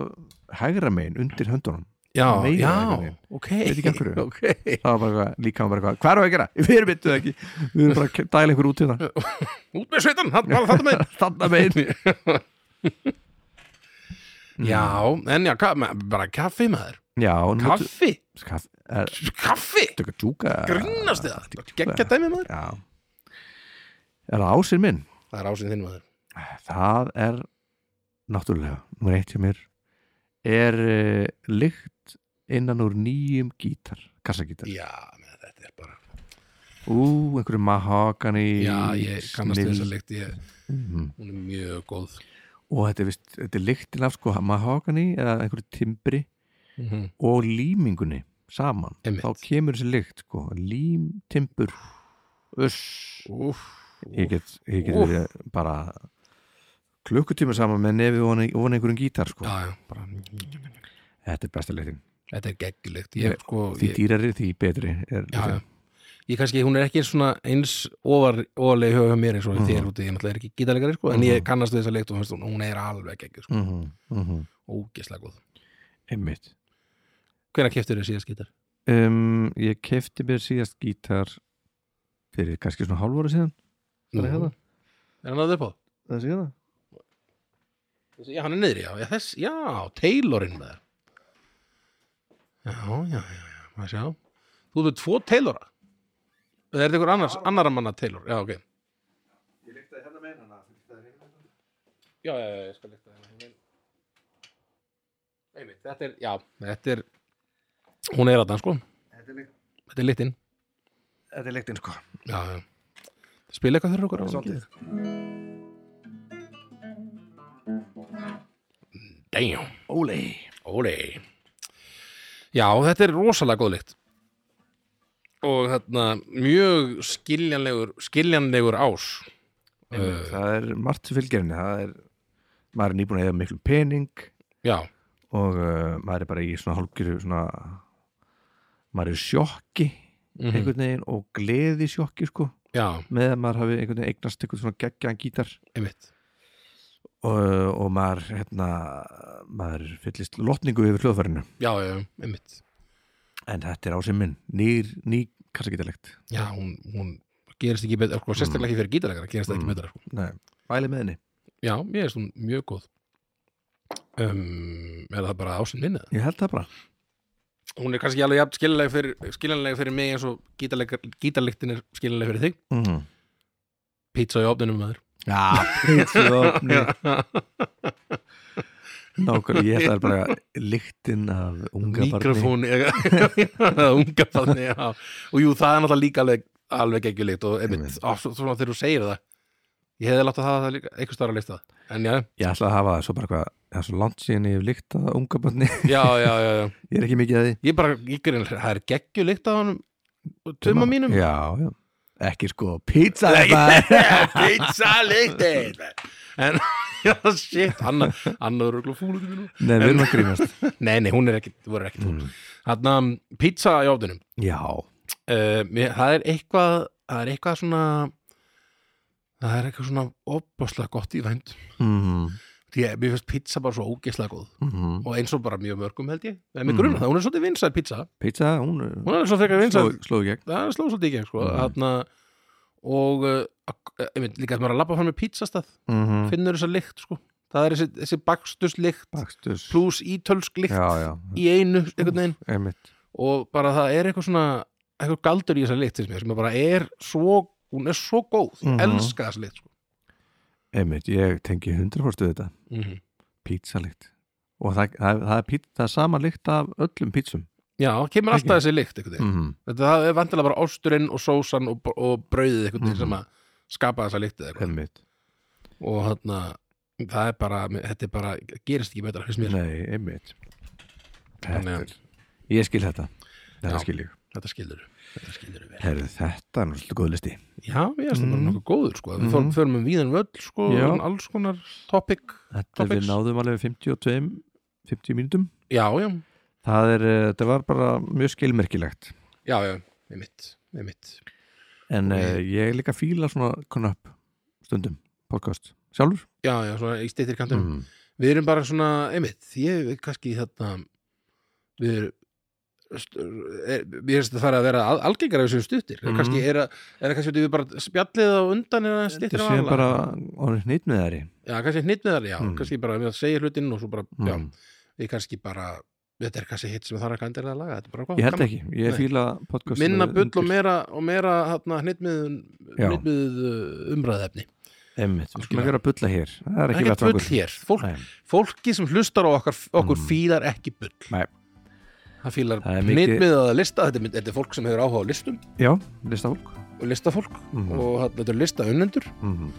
hægra megin undir höndunum já, Meira já einhvern veginn. ok, Veit ekki af hverju. ok það var bara eitthvað, líka var bara eitthvað, hvað er að gera? við erum vittuð ekki, við erum bara að dæla ykkur út í það út með sveitan, hann var þetta með þarna megin já, en já, ka ma- bara kaffi maður já, nú kaffi, kaff er kaffi þetta eitthvað djúka Ah, grínast þið það, geggja dæmi maður já er það ásinn minn? það er ásinn þinn maður það er náttúrulega, nummer eitt hjá mér er uh, lykt innan úr nýjum gítar kassagítar já, með þetta er bara Ú, einhverju mahogany já, ég kannast við þessa lykt ég, Mhm. hún er mjög góð Og þetta er vist, þetta er lyktin af sko mahogany eða einhverju timbri mhm og límingunni saman Einmitt. Þá kemur þessi lykt sko, lím, timbur Uss Úf, Ég úf. get, ég get Úff. verið bara klukkutíma saman með nefið ofan í- ofan í einhverjum gítar sko Já, já, bara, Þetta er besta lyktin þetta er geggjulegt ég, Ég- sko, Því ég, dýrari, því betri er já, já. lyktin. ég kannski, hún er ekki svona eins ofar, ofarlega höfum mér eins og Mhm. þér úti, ég náttúrulega er ekki gítalegari sko, en ég Mhm. kannast við þessa leikt og finnst hún, hún er alveg geggjur, sko, Mhm, mhm. ógislega góð Einmitt Hvenær keftur þér síðast gítar? um, Ég kefti mér síðast gítar fyrir kannski svona hálfóra síðan Það er Mhm. hérna. Er hann að upp á? Það sé það Já, hann er niðri, já, já, þess, já, Taylorinn með þér Já, já, já, já, maður sjá Þú ert tvo Taylora Eða er þetta ykkur annars, annara manna Taylor? Já, ok Ég lyktaði hérna með hana það er hérna. já, já, já, ég skal lykta það Einmitt, þetta er, já, þetta er hún er að það, sko Þetta er lykt- þetta er litinn Þetta er lyktin sko já, já. spila eitthvað fyrir okkur á Svolítið. Damn, Óli óli já, þetta er rosalega góð lykt og þarna mjög skiljanlegur skiljanlegur ás uh, Það er margt sem fylgir henni Það er, maður er nýbúin að eða miklu pening já, og uh, maður er bara í svona hálfgjöru svona maður er í sjokki Mhm. einhvern veginn og gleði sjokki sko já, með að maður hafi einhvern veginn eignast einhvern svona geggjaðan gítar einmitt og, og maður hérna maður fyllist lotningu yfir hljóðfærinu já, já, einmitt en þetta er á sem minn nýr, ný kassagítarlegt já, hún, hún gerist ekki betur sko, sérstaklega ekki fyrir gítalegara gerist það ekki Mm. betur sko. Nei, væli með henni Já, ég er svona mjög góð um, Er það bara ásinn minna? Ég held það bara Hún er kannski alveg jafn skiljanlega fyrir, skiljanlega fyrir mig eins og gítarlíktin er skiljanlega fyrir þig mm -hmm. Pizza í ofninum maður Já, pitsjófni Nákvæmlega, ég ætlaði bara lyktin af unga barni Mikrofón Unga barni, já Og jú, það er náttúrulega líka alveg, alveg geggjulíkt og einmitt, Einmitt. á, svo, svona þegar þú segir það ég hefði látt að hafa það líka einhvers staðar á lista en já, Ég ætla að hafa það svo bara hvað Það er svo langt síðan ég hef líkt að unga barni já, já, já, já. Ég er ekki mikið að því ég bara, ég greinlega, það er geggju líkt að honum og tumma mínum Já, já Ekki sko, pizza Nei. þetta pizza líktir en, já, shit annar, annar eru fúl út í mínum Nei, við erum að grínast Mm. nei, nei, hún er ekki, þú er ekki fúl hann að um, pizza í ofnunum Já, uh, mér, það er eitthvað það er eitthvað svona það er eitthvað svona opaslega gott í vænd mm, því að mér finnst pizza bara svo ógeðslega góð mm. og eins og bara mjög mörgum held ég en mér Mm. grunna það, hún er svolítið vinsæð pizza pizza, hún er- hún er svo frekar vinsæð, sló- sló í gegn það sló svolítið ekki sko. Mm. þarna og uh, ak- eh, einmitt, líka að maður er að labba fram með pizzastað Mhm. finnur þessa lykt sko það er þessi, þessi baksturslykt Bakstus pluss ítölsk lykt Já, já, í einu einhvern veginn einmitt og bara það er eitthvað svona eitthvað galdur í þessa lit sem, sem bara er svo, hún er svo góð ég Mhm. elska þessa lit sko. Einmitt, ég tengi 100% við þetta Mhm. Pizzalikt Og það, það, það, er, pít, það er sama lykt af öllum pizzum já, kemur Ekki. alltaf þessi lit mm. mm. þetta það er vantilega bara ásturinn og sósan og, og brauðið eitthvað Mhm. sem að skapa þessa lit Einmitt og þarna það er bara, þetta er bara gerist ekki betra, finnst mér Nei, einmitt Þannig þetta, að- er- Ég skil þetta Þetta Já. skil ég þetta skilur þetta skilur við Herðu, Þetta er náttúrulega góð listi já, ég er þetta bara Mhm. nokkuð góður sko. við Mhm. mm. förum um víðan völl sko, Já. um alls konar topic Þetta Topics. við náðum alveg 52 50 mínútum já, já, Það er, eh, þetta var bara mjög skilmerkilegt já, já, einmitt einmitt En Ok. okay. ég líka fíla svona knöpp stundum, podcast Sjálfur? Mm. Já, já, svona í steytir kantum Við erum bara svona, einmitt, ég er kannski þetta við erum st- er, við erum það að vera al- algengara við sem stuttir, Mhm. mm. kannski er að er það kannski út í við bara spjallið á undan eða Þetta stýttir á séum bara orðin hnýtt með þeirri Já, kannski hnitt með það, já, Mm. kannski bara við að segja hlutinn og svo bara, Mhm. já, við kannski bara þetta er kannski hitt sem þarf að kandir að laga þetta er bara Ég hvað, held ekki, ég Nei. fíla podcast minna með- bull og undir- meira, og meira hérna, hnitt með, Já. hnitt með umræðefni Einmitt, við skulum Algjörlega. ekki vera að bulla hér Það er ekki ekkert bull vettvangur. hér, Fólk, Nei. fólki sem hlustar á okkar, okkur Mm. fílar ekki bull Nei. það fílar Það er mikið- hnitmið að lista þetta er, þetta er fólk sem hefur áhuga á listum Já, listafólk og listafólk Mhm. og þarna, þetta er lista unnendur Mhm.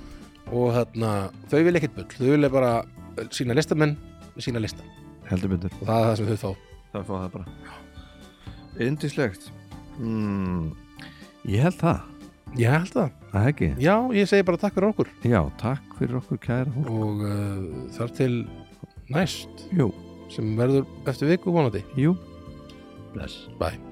og þarna, þau vilja ekkert bull þau vilja bara sína listamenn með sína lista Heldur myndur og það er það sem þau fá Það fá það bara Yndislegt mm, Ég held það, ég held það, það ekki já, ég segi bara takk fyrir okkur Já, takk fyrir okkur kæra fólk og uh, þar til næst Jú, sem verður eftir viku vonandi jú Bless bye